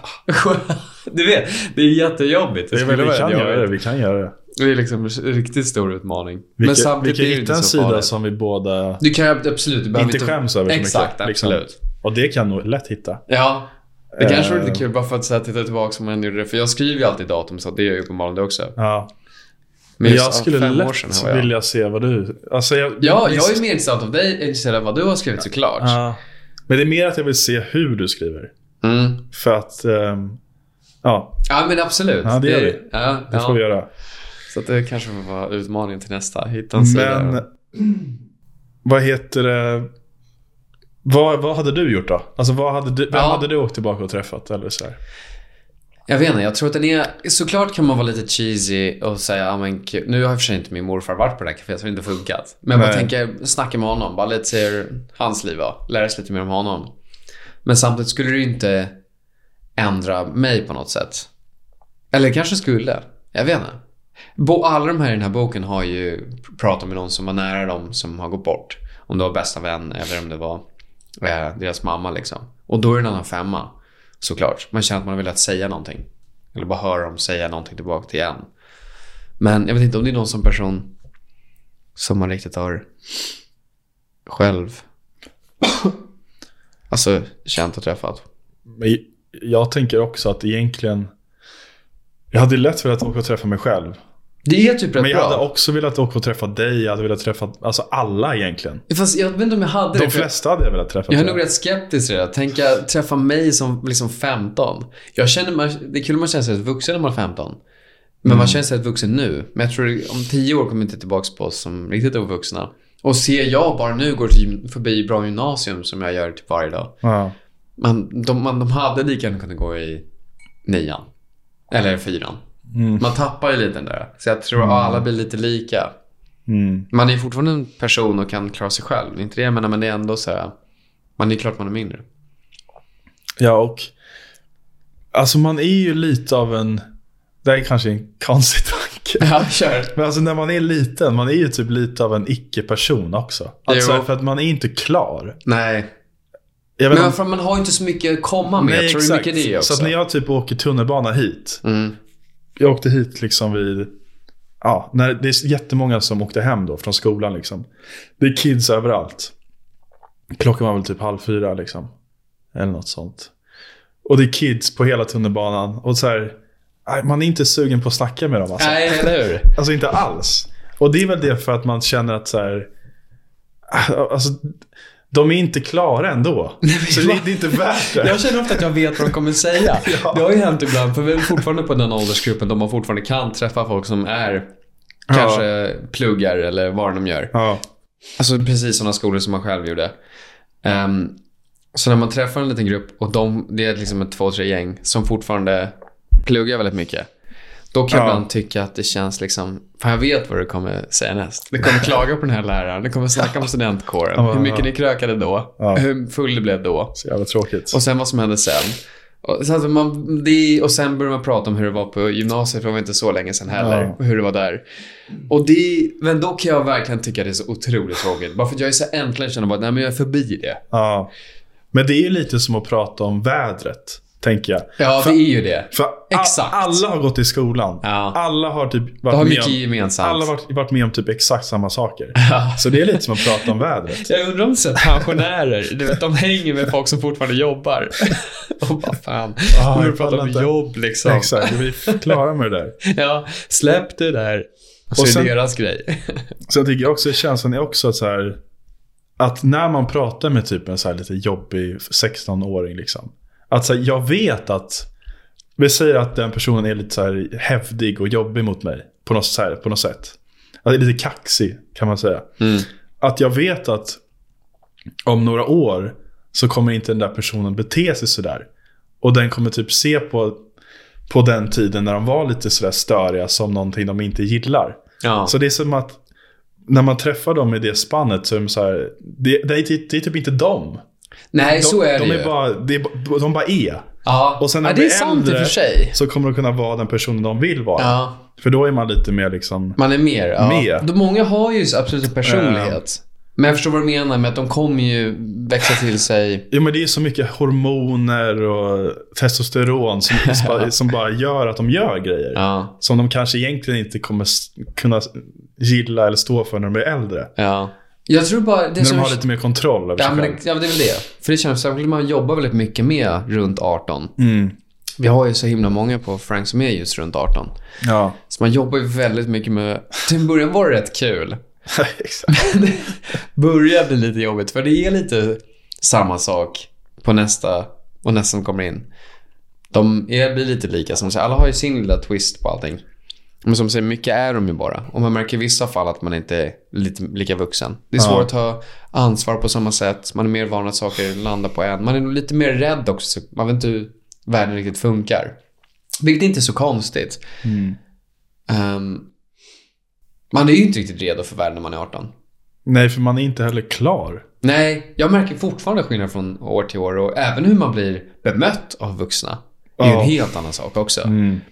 du vet, det är jättejobbigt. Det Det är väl, skulle vi vara kan göra det. jobbigt. Vi kan göra det. Det är liksom en riktigt stor utmaning. Vi, Men kan, vi samtidigt kan är det hitta inte en så sida farligt. som vi båda Du kan ju absolut... Du behöver inte skäms över så mycket. Exakt, liksom. absolut. Och det kan nog lätt hitta. Ja. Det kanske vore Eh. lite kul bara för att så här, titta tillbaka som man gjorde det. För jag skriver ju alltid datum så det gör ju uppenbarligen det också. Ja. Men just, jag ja, skulle fem lätt år sedan har jag. vilja se vad du... Alltså jag, Ja, jag visst- är ju mer intresserad av dig än intresserad av vad du har skrivit såklart. Ja. Men det är mer att jag vill se hur du skriver. Mm. För att... ehm, ja, Ja, men absolut. Ja, det gör vi. Ja, det ja. får vi göra. Så att det kanske får vara utmaningen till nästa. Hitta en sida. Men... Vad heter det? Vad, vad hade du gjort då? Alltså vad hade du, vem Ja. hade du åkt tillbaka och träffat? Eller så här? Jag vet inte, jag tror att den är... Såklart kan man vara lite cheesy och säga, ja men kul." Nu har i och för sig inte min morfar varit på det här caféet så det har inte funkat. Men jag bara Nej. tänker, snacka med honom. Bara lite se hur hans liv var. Lära sig lite mer om honom. Men samtidigt skulle det ju inte ändra mig på något sätt. Eller kanske skulle. Jag vet inte. Bo- Alla de här i den här boken har ju pratat med någon som var nära dem som har gått bort. Om det var bästa vän eller om det var eh, deras mamma liksom. Och då är det en annan femma. Såklart. Man känner att man har velat säga någonting. Eller bara höra dem säga någonting tillbaka till en. Men jag vet inte om det är någon som person som man riktigt har själv. Alltså känt och träffat. Men jag tänker också att egentligen... Jag hade lätt velat åka och träffa mig själv. Det är typ rätt Men jag bra. hade också velat åka och träffa dig. Jag hade velat träffa alltså alla egentligen. Fast jag vet inte om jag hade De det. för- flesta hade jag velat träffa. Jag är tror nog rätt skeptisk redan. Tänka träffa mig som liksom 15. Jag känner man, det är kul om man känner sig rätt vuxen när man är 15. Men man känner sig rätt vuxen nu. Men jag tror det- om 10 år kommer vi inte tillbaka på oss som riktigt ovuxna. Och ser jag bara nu går till- förbi bra gymnasium som jag gör typ varje dag. Ja. Man, de, man, de hade lika gärna kunnat gå i nian. Eller fyran. Mm. Man tappar ju lite den där. Så jag tror att alla blir lite lika. Mm. Man är ju fortfarande en person och kan klara sig själv. Det är Inte det jag menar, men det är ändå så här. Man är klart man är mindre. Ja, och... Alltså man är ju lite av en... Det här är kanske en konstig tanke. Ja, kör. Men alltså när man är liten, man är ju typ lite av en icke-person också. Alltså Jo. för att man är inte klar. Nej. Jag vet Men inte- för man har ju inte så mycket att komma med. jag tror det är mycket det också. Så att när jag typ åker tunnelbana hit. mm. Jag åkte hit liksom vid... Ja, när det är jättemånga som åkte hem då från skolan liksom. Det är kids överallt. Klockan var väl typ halv fyra liksom. Eller något sånt. Och det är kids på hela tunnelbanan. Och så här, nej, man är inte sugen på att snacka med dem alltså. Nej, eller hur? Alltså inte alls. Och det är väl det för att man känner att så här... Alltså, de är inte klara ändå. Så det, det är inte värt det. Jag känner ofta att jag vet vad de kommer säga. Det har ju hänt ibland, för vi är fortfarande på den åldersgruppen där man fortfarande kan träffa folk som är kanske pluggar eller vad de gör. Ja. Alltså precis sådana skolor som man själv gjorde. Ehm, så när man träffar en liten grupp och de, det är liksom ett två, tre gäng som fortfarande pluggar väldigt mycket. Då kan jag Ja. ibland tycka att det känns liksom, fan jag vet vad du kommer säga näst. Du kommer klaga på den här läraren, du kommer snacka om studentkåren, hur mycket ni krökade då, Ja. hur full du blev då Så jävla tråkigt. och sen vad som hände sen. Och, så att man, det, och sen började man prata om hur det var på gymnasiet, för det var inte så länge sedan heller, Ja. och hur det var där. Och det, men då kan jag verkligen tycka det är så otroligt tråkigt. Bara för att jag är så äntligen känner bara, nej men jag är förbi det. Ja. Men det är ju lite som att prata om vädret, tänker jag. Ja, för, det är ju det. för a- Exakt. alla har gått i skolan. Ja. Alla har typ Det varit har med mycket om, gemensamt. alla har varit, varit med om typ exakt samma saker. Ja. Så det är lite som att prata om vädret. Jag undrar om så här, pensionärer, du vet, de hänger med folk som fortfarande jobbar. Och bara fan, Ja, de jag pratar pallar om inte. jobb liksom. Exakt, vi är klara med det där. Ja, släpp det där. Så sen- är det deras grej. Sen tycker jag också känslan är också att så här, att när man pratar med typ en så här lite jobbig 16-åring liksom. Att så här, jag vet att, vi säger att den personen är lite så här hävdig och jobbig mot mig på något, så här, på något sätt. Att det är lite kaxig kan man säga. Att jag vet att om några år så kommer inte den där personen bete sig sådär. Och den kommer typ se på, på den tiden när de var lite sådär störiga som någonting de inte gillar. Ja. Så det är som att när man träffar dem i det spannet så är de så här, det, det, är, det är typ inte dem. Nej, De, så är det de ju. är bara, det är, ba- De bara är. Ja, Och sen när ja de det är blir sant i och äldre för sig. så kommer de kunna vara den personen de vill vara. Ja. För då är man lite mer liksom... Man är mer, ja. Mer. Då många har ju absolut en personlighet. Men jag förstår vad du menar med att de kommer ju växa till sig. Ja, men det är så mycket hormoner och testosteron som, som bara gör att de gör grejer. Ja, Som de kanske egentligen inte kommer s- kunna s- gilla eller stå för när de blir äldre. ja. Jag tror bara det när som... de har lite mer kontroll över ja, sig men själv. det, ja, men det är väl det. För det känns så att man jobbar väldigt mycket med runt 18. Mm. Vi har ju så himla många på Frank som är just runt 18. Ja, Så man jobbar ju väldigt mycket med... Till en början var det rätt kul. exakt. det börjar bli lite jobbigt. För det är lite samma sak på nästa och nästa som kommer in. De är, blir lite lika. Som säger, alla har ju sin lilla twist på allting. Men som säger, mycket är de ju bara. Och man märker i vissa fall att man inte är lite, lika vuxen. Det är Ja. svårt att ta ansvar på samma sätt. Man är mer van att saker landar på en. Man är nog lite mer rädd också. Man vet inte hur världen riktigt funkar. Vilket inte är så konstigt. Ehm, man är ju inte riktigt redo för världen när man är 18. Nej, för man är inte heller klar. Nej, jag märker fortfarande skillnad från år till år och även hur man blir bemött av vuxna. Det är ju Ja. Mm. en helt annan sak också.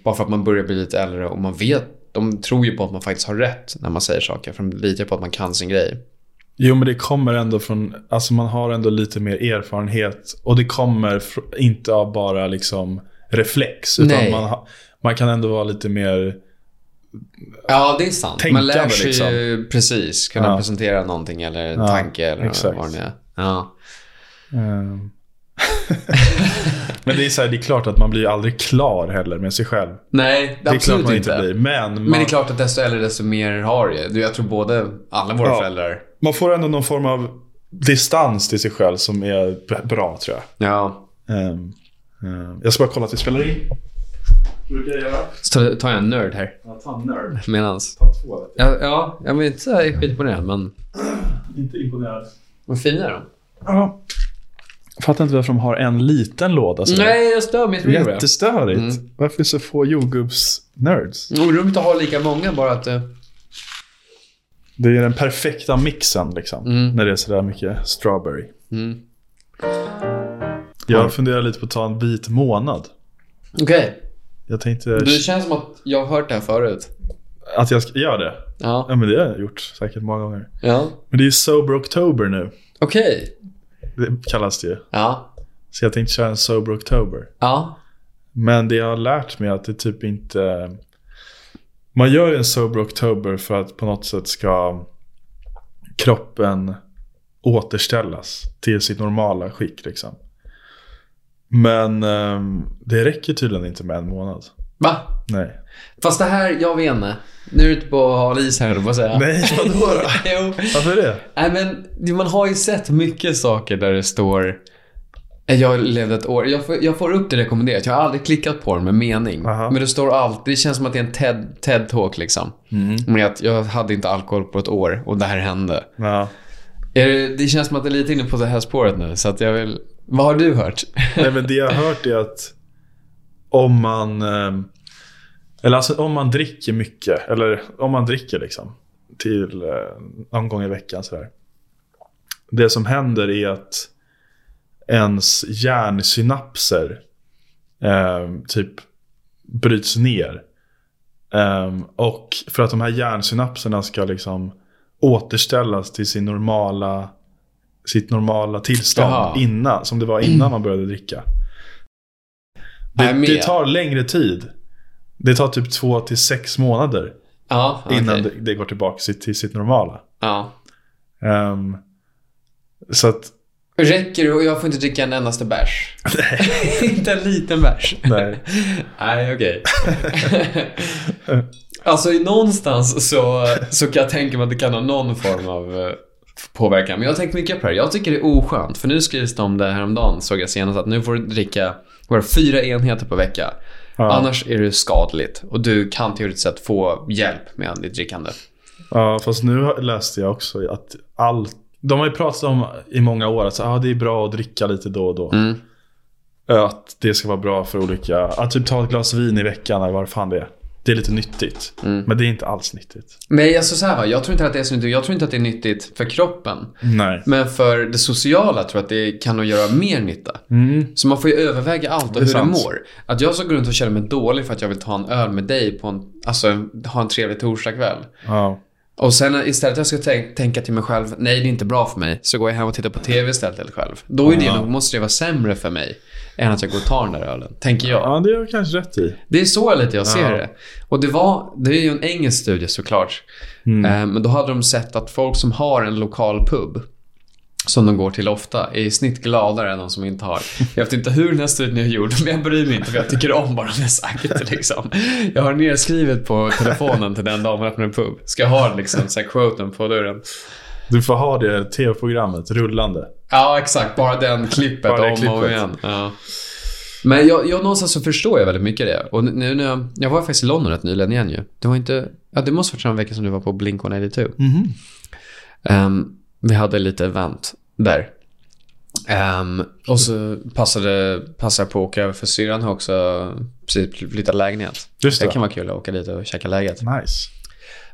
Bara för att man börjar bli lite äldre och man vet, de tror ju på att man faktiskt har rätt när man säger saker. För de litar på att man kan sin grej. Jo, men det kommer ändå från, alltså man har ändå lite mer erfarenhet. Och det kommer fr- inte av bara liksom reflex. Utan Nej. man, ha- man kan ändå vara lite mer, Ja, det är sant. man Tänkande, lär sig ju liksom. precis kunna Ja. presentera någonting eller en Ja, tanke eller exakt. vad det nu är. Ja. ehm. men det är, så här, det är klart att man blir aldrig klar heller med sig själv. Det Nej, är klart absolut man inte. inte blir. Men, man, Men det är klart att desto äldre desto mer har det. Du, Jag tror både alla våra Ja. föräldrar. man får ändå någon form av distans till sig själv som är b- bra tror jag. Ja. Ehm, ehm, jag ska bara kolla att vi spelar in. Brukar jag göra? Så tar jag en nörd här Ja, ta en nörd. medans. Ta två. Ja, ja jag vill inte säga skit på det, men Inte imponerad. vad fina de Ja. Jag fattar inte varför de har en liten låda. Så Nej, Mm. jag stör mig. Det är Jättes... Oroligt jättestörigt. Varför är det så få jordgubbs-nerds? att ha lika många, bara att... eh, Det är den perfekta mixen liksom. Mm. När det är sådär mycket strawberry. Mm. Jag funderar lite på att ta en vit månad. Okej, Jag tänkte det känns som att jag har hört det här förut. att jag ska göra det. Ja. Ja men det har jag gjort säkert många gånger. ja. Men det är ju sober oktober nu. Okej. Det kallas det ju. Ja. Så jag tänkte köra en sober oktober. Ja. Men det jag har lärt mig är att det typ inte... Man gör ju en sober oktober för att på något sätt ska kroppen återställas till sitt normala skick. Liksom. Men ehm, det räcker tydligen inte med en månad. Va? Nej. Fast det här, jag vet inte. Nu är du ute på hal is här, vad säga. Nej, vadå då? jo. Varför det? Nej, men man har ju sett mycket saker där det står... eh, Jag levde ett år. Jag får, jag får upp det rekommenderat. Jag har aldrig klickat på den med mening. Aha. Men det står alltid... Det känns som att det är en TED- TED-talk liksom. Mm. Med att jag hade inte alkohol på ett år och det här hände. Ja. Är det, det känns som att det är lite inne på det här spåret nu, så att jag vill... Vad har du hört? Nej, men det jag har hört är att om man... ehm, Eller alltså om man dricker mycket, eller om man dricker liksom till eh, någon gång i veckan sådär. Det som händer är att ens hjärnsynapser ehm, typ bryts ner. Ehm, och för att de här hjärnsynapserna ska liksom återställas till sin normala, sitt normala tillstånd Jaha. innan, som det var innan man började dricka. Jag Det, är med. det tar längre tid. Det tar typ två till sex månader Ja, Ah, okej. innan det, det går tillbaka sitt- till sitt normala. Ja. Ehm, så att, Räcker det och jag får inte dricka en endaste bärs? inte en liten bärs? nej. Nej, okej. alltså, i någonstans så, så kan jag tänka mig att det kan ha någon form av eh, påverkan. Men jag har tänkt mycket på det här. Jag tycker det är oskönt, för nu skrivs det om det häromdagen, såg jag senast, att nu får du dricka bara fyra enheter per vecka. Ja. Annars är det skadligt och du kan teoretiskt sett få hjälp med ditt drickande. Ja, fast nu har- läste jag också att allt... De har ju pratat om i många år att ah, det är bra att dricka lite då och då. Mm. Att det ska vara bra för olika... Att typ ta ett glas vin i veckan eller vad fan det är. Det är lite nyttigt. Mm. Men det är inte alls nyttigt. Nej, alltså så här va. Jag tror inte att det är så nyttigt. Jag tror inte att det är nyttigt för kroppen. Nej. Men för det sociala tror jag att det kan nog göra mer nytta. Mm. Så man får ju överväga allt och är hur sant. det mår. Att jag så går runt och känner mig dålig för att jag vill ta en öl med dig på en, alltså en- ha en trevlig torsdagkväll. Ja. Och sen istället jag ska tän- tänka till mig själv, nej det är inte bra för mig, så går jag hem och tittar på TV istället helt själv. Då är det, Ja. nog måste det vara sämre för mig än att jag går och tar den där ölen, tänker jag. Ja, det är jag kanske rätt i. Det är så lite jag ser Ja. det. Och det var, det är ju en engelsk studie såklart. Eh, Men då hade de sett att folk som har en lokal pub som de går till ofta är i snitt gladare än de som inte har. Jag vet inte hur den här studien är gjord, men jag bryr mig inte för jag tycker om vad de har sagt. Liksom. Jag har nedskrivet på telefonen till den damen öppnar en pub. Ska jag ha liksom, så här, quoten på dörren? Du får ha det tv-programmet rullande. Ja, exakt. Bara den klippet Bara det om och klippet. igen. Ja. Men jag, jag någonstans så förstår jag väldigt mycket det. Och nu när jag, jag var faktiskt i London rätt nyligen igen ju. Det var inte... Ja, det måste varit samma vecka som du var på Blink-182. Ehm, vi hade lite event där. Ehm, och så passade, passade jag på att åka över för syrran har också precis flyttat lägenhet. Just det. Det kan vara kul att åka dit och checka läget. Nice.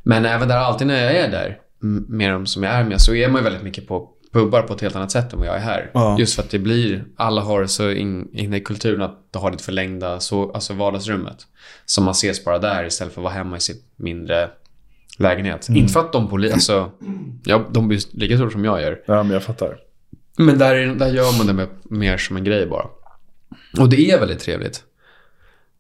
Men även där, alltid när jag är där, m- med de som jag är med, så är man ju väldigt mycket på pubbar på ett helt annat sätt än vad jag är här. Ja. Just för att det blir, alla har det så in- inne i kulturen att du har ditt förlängda så, alltså vardagsrummet. Som man ses bara där istället för att vara hemma i sitt mindre lägenhet. Inte för att de poli- alltså, ja, de blir lika stora som jag gör. Ja, men jag fattar. Men där, är- där gör man det med, mer som en grej bara. Och det är väldigt trevligt.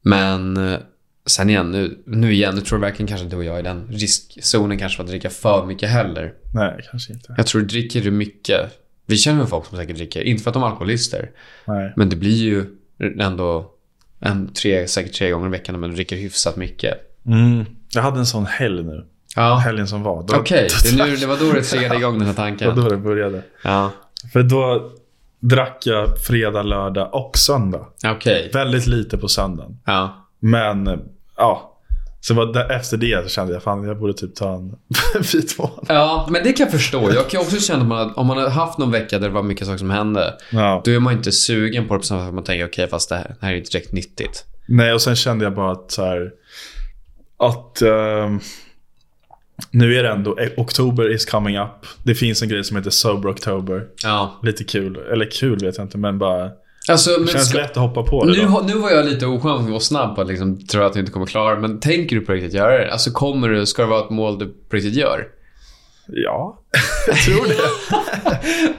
Men eh, sen igen, nu, nu igen, nu tror jag verkligen kanske du och jag är i den riskzonen kanske för att dricka för mycket heller. Nej, kanske inte. Jag tror dricker du mycket, vi känner väl folk som säkert dricker, inte för att de är alkoholister, Nej. men det blir ju ändå en tre, säkert tre gånger i veckan men du dricker hyfsat mycket. Mm. Jag hade en sån helg nu. Ja, Helgen som var. Då- Ah. okej. Det, är nu- det var då det triggade igång den här Det tanken. var då det började. Ja, För då drack jag fredag, lördag och söndag. okej. Väldigt lite på söndagen. Ja. Men eh, ja. Så var det, efter det så kände jag fan jag borde typ ta en vitvål. Ja, men det kan jag förstå. Jag kan också känna att man, om man har haft någon vecka där det var mycket saker som hände, Ja. då är man inte sugen på det på samma sätt. som Man tänker okej, fast det här, det här är inte direkt nyttigt. Nej, och sen kände jag bara att så här, Att ehm, nu är det ändå eh, oktober is coming up. Det finns en grej som heter Sober October. Ja. Lite kul. Eller kul vet jag inte, men bara. Alltså, men Det känns ska, lätt att hoppa på det. nu, då. har- nu var jag lite oskön och snabb på att liksom, tro att du inte kommer klara det, men tänker du på riktigt göra det? Alltså, kommer du, ska det vara ett mål du på riktigt gör? Ja, jag tror det.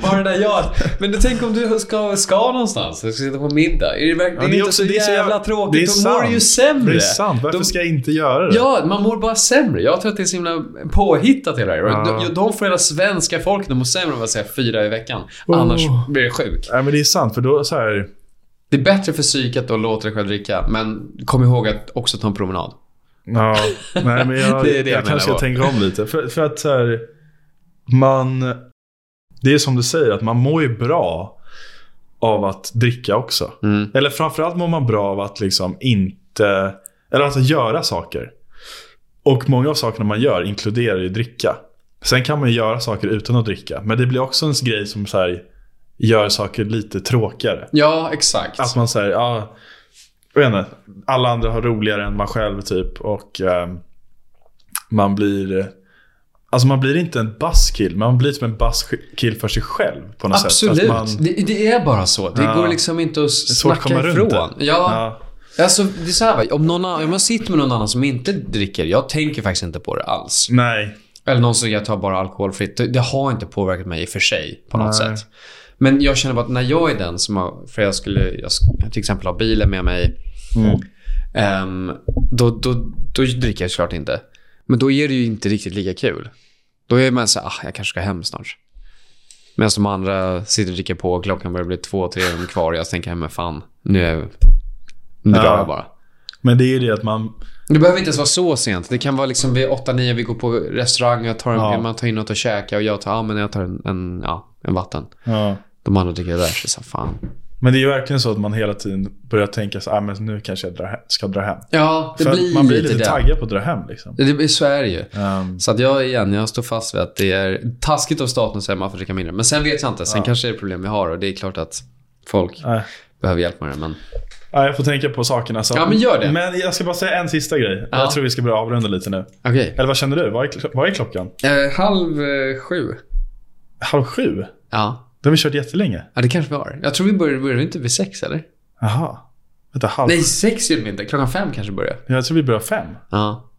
Bara det där jag... Men du, tänk om du ska, ska någonstans, du ska sitta på middag. Är det, verkligen, Ja, det är inte så, det är jävla, tråkigt, det är då sant. mår du ju sämre. Det är sant. Varför Då- ska jag inte göra det? Ja, man mår bara sämre. Jag tror att det är så himla påhittat hela det här. Ja. De, de får hela svenska folk, de mår sämre om att säga fyra i veckan. Annars blir det sjuk. Nej, men det är sant. För då så här. Det är bättre för psyket att låta dig själv dricka, men kom ihåg att också ta en promenad. Ja, nej, men jag, Det är det jag jag kanske menar jag tänker om lite. För, för att så här, man... Det är som du säger, att man mår ju bra av att dricka också. Mm. Eller framförallt mår man bra av att liksom inte... Eller alltså göra saker. Och många av sakerna man gör inkluderar ju dricka. Sen kan man ju göra saker utan att dricka. Men det blir också en grej som så här, gör saker lite tråkigare. Ja, exakt. Att man säger, ja, jag vet inte, alla andra har roligare än man själv typ och ehm, man blir, alltså man blir inte en buzzkill, men man blir typ en buzzkill för sig själv på något Absolut. sätt. Att man, Det, det är bara så. Det Ja. går liksom inte att är svårt att snacka komma ifrån. runt Ja, det. ja, Alltså, det är så här, va. om, någon, annan- om jag sitter med någon annan som inte dricker, jag tänker faktiskt inte på det alls. nej, Eller någon som jag tar bara alkoholfritt. Det, det har inte påverkat mig i och för sig på något Nej. sätt. Men jag känner bara att när jag är den som har, för jag skulle, jag sk- till exempel ha bilen med mig. Mm. ehm, då, då, då dricker jag såklart inte. Men då är det ju inte riktigt lika kul. Då är man så här, ah, jag kanske ska hem snart. Medan de andra sitter och dricker på och klockan börjar bli två, tre rum kvar och jag tänker, "Ja, men fan, nu är nu Ja. drar jag bara. men det är ju det att man, Det behöver inte ens vara så sent. Det kan vara liksom vid 8-9, vi går på restaurang, jag tar en, Ja. man tar in något att käka och jag tar, ja, men jag tar en, en, ja, en vatten. ja. De andra dricker det där, så, så här, fan. men det är ju verkligen så att man hela tiden börjar tänka så ah, men nu kanske jag drar he- ska dra hem. Ja, det För att blir, man blir lite, lite det. taggad på att dra hem liksom. Det blir, så är det ju. Ehm, Så att jag igen, jag står fast vid att det är taskigt av staten att säga att man får dricka mindre. Men sen vet jag inte. Sen kanske det är problem vi har och det är klart att folk nej. behöver hjälp med det. Men Ja, jag får tänka på sakerna. Så. Ja, men gör det. Men jag ska bara säga en sista grej. Ja. Jag tror vi ska börja avrunda lite nu. okej. Eller vad känner du? Vad är, kl- vad är klockan? Eh, halv eh, sju. Halv sju? Ja. Då har vi kört jättelänge. ja, det kanske vi har. Jag tror vi började, började vi inte vid sex, eller? Jaha. Vänta, halv... Nej, sex gjorde vi inte. Klockan fem kanske började. Jag tror vi börjar fem. Ja.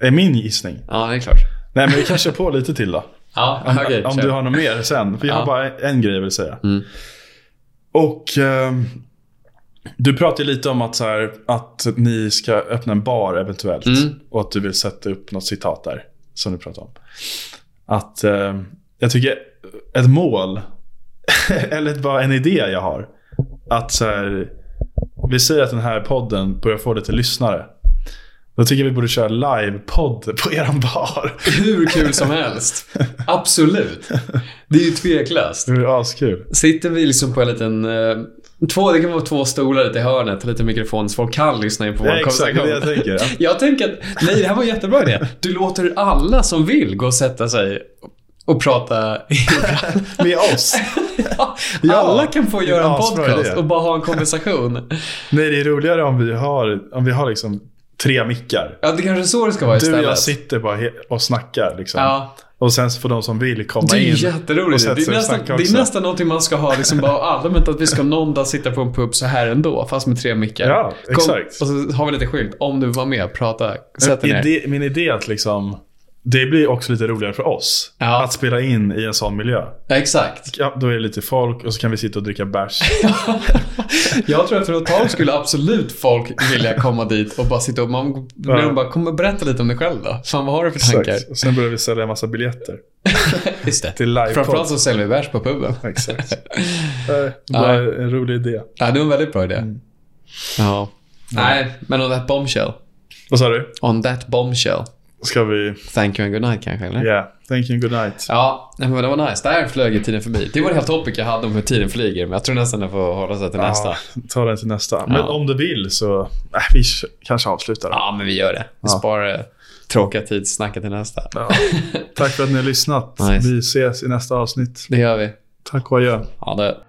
är min gissning. ja, det är klart. Nej, men vi kan köra på lite till då. Ja, Om, Ah, okej. om kör. du har något mer sen. För jag Ja. har bara en grej jag vill säga. Mm. Och ehm, du pratade ju lite om att, så här, att ni ska öppna en bar eventuellt. Mm. Och att du vill sätta upp något citat där. Som du pratade om. Att ehm, jag tycker ett mål. eller bara en idé jag har. Att så här, vi säger att den här podden börjar få lite lyssnare. Då tycker jag vi borde köra livepodd på eran bar. Hur kul som helst. Absolut. Det är ju tveklöst. Det vore askul. Sitter vi liksom på en liten... Eh, två, det kan vara två stolar lite i hörnet, lite mikrofon, så folk kan lyssna in på vår Ja, exakt det är det jag konversation. tänker. Ja. Jag tänker att, nej, det här var en jättebra idé. Du låter alla som vill gå och sätta sig och prata. Med oss. alla kan få göra en asbra idé. podcast och bara ha en konversation. Nej, det är roligare om vi har, om vi har liksom tre mickar. Ja, det kanske är så det ska vara Du och istället. jag sitter bara he- och snackar. Liksom. Ja. Och sen så får de som vill komma Det är in. ju och jätteroligt. Det sätter sig och är, nästan, det snackar är också. nästan någonting man ska ha liksom bara allmänt. Att vi ska någon dag sitta på en pub så här ändå, fast med tre mickar. Ja, exakt. Och så har vi lite skylt. Om du var med, prata. Sätt dig ner. idé, min idé är att liksom, det blir också lite roligare för oss. Ja. Att spela in i en sån miljö. Ja, exakt. Ja, då är det lite folk och så kan vi sitta och dricka bärs. Jag tror att för ett tag skulle absolut folk vilja komma dit och bara sitta och... Man, när Ja. de bara, kom och berätta lite om dig själv då. Fan, vad har du för tankar? Exakt. Och sen börjar vi sälja en massa biljetter. Just det. Till livepodd. Framförallt så säljer vi bärs på puben. Exakt. Eh, Bara en rolig idé. Ja, det var en väldigt bra idé. Ja. Nej, men on that bombshell. Vad sa du? On that bombshell. Ska vi... Thank you and good night kanske, eller? Yeah. Thank you, good night. Ja, nej, men det var nice. Där flög ju tiden förbi. Det var det helt topic jag hade om hur tiden flyger, men jag tror nästan jag får hålla sig till nästa. Ja, ta den till nästa. Men Ja. om du vill så... Äh, vi kanske avslutar. då. Ja, men vi gör det. Vi Ja. sparar det tråkiga tidssnacket till nästa. Ja. Tack för att ni har lyssnat. Nice. Vi ses i nästa avsnitt. Det gör vi. Tack och adjö. Ha det.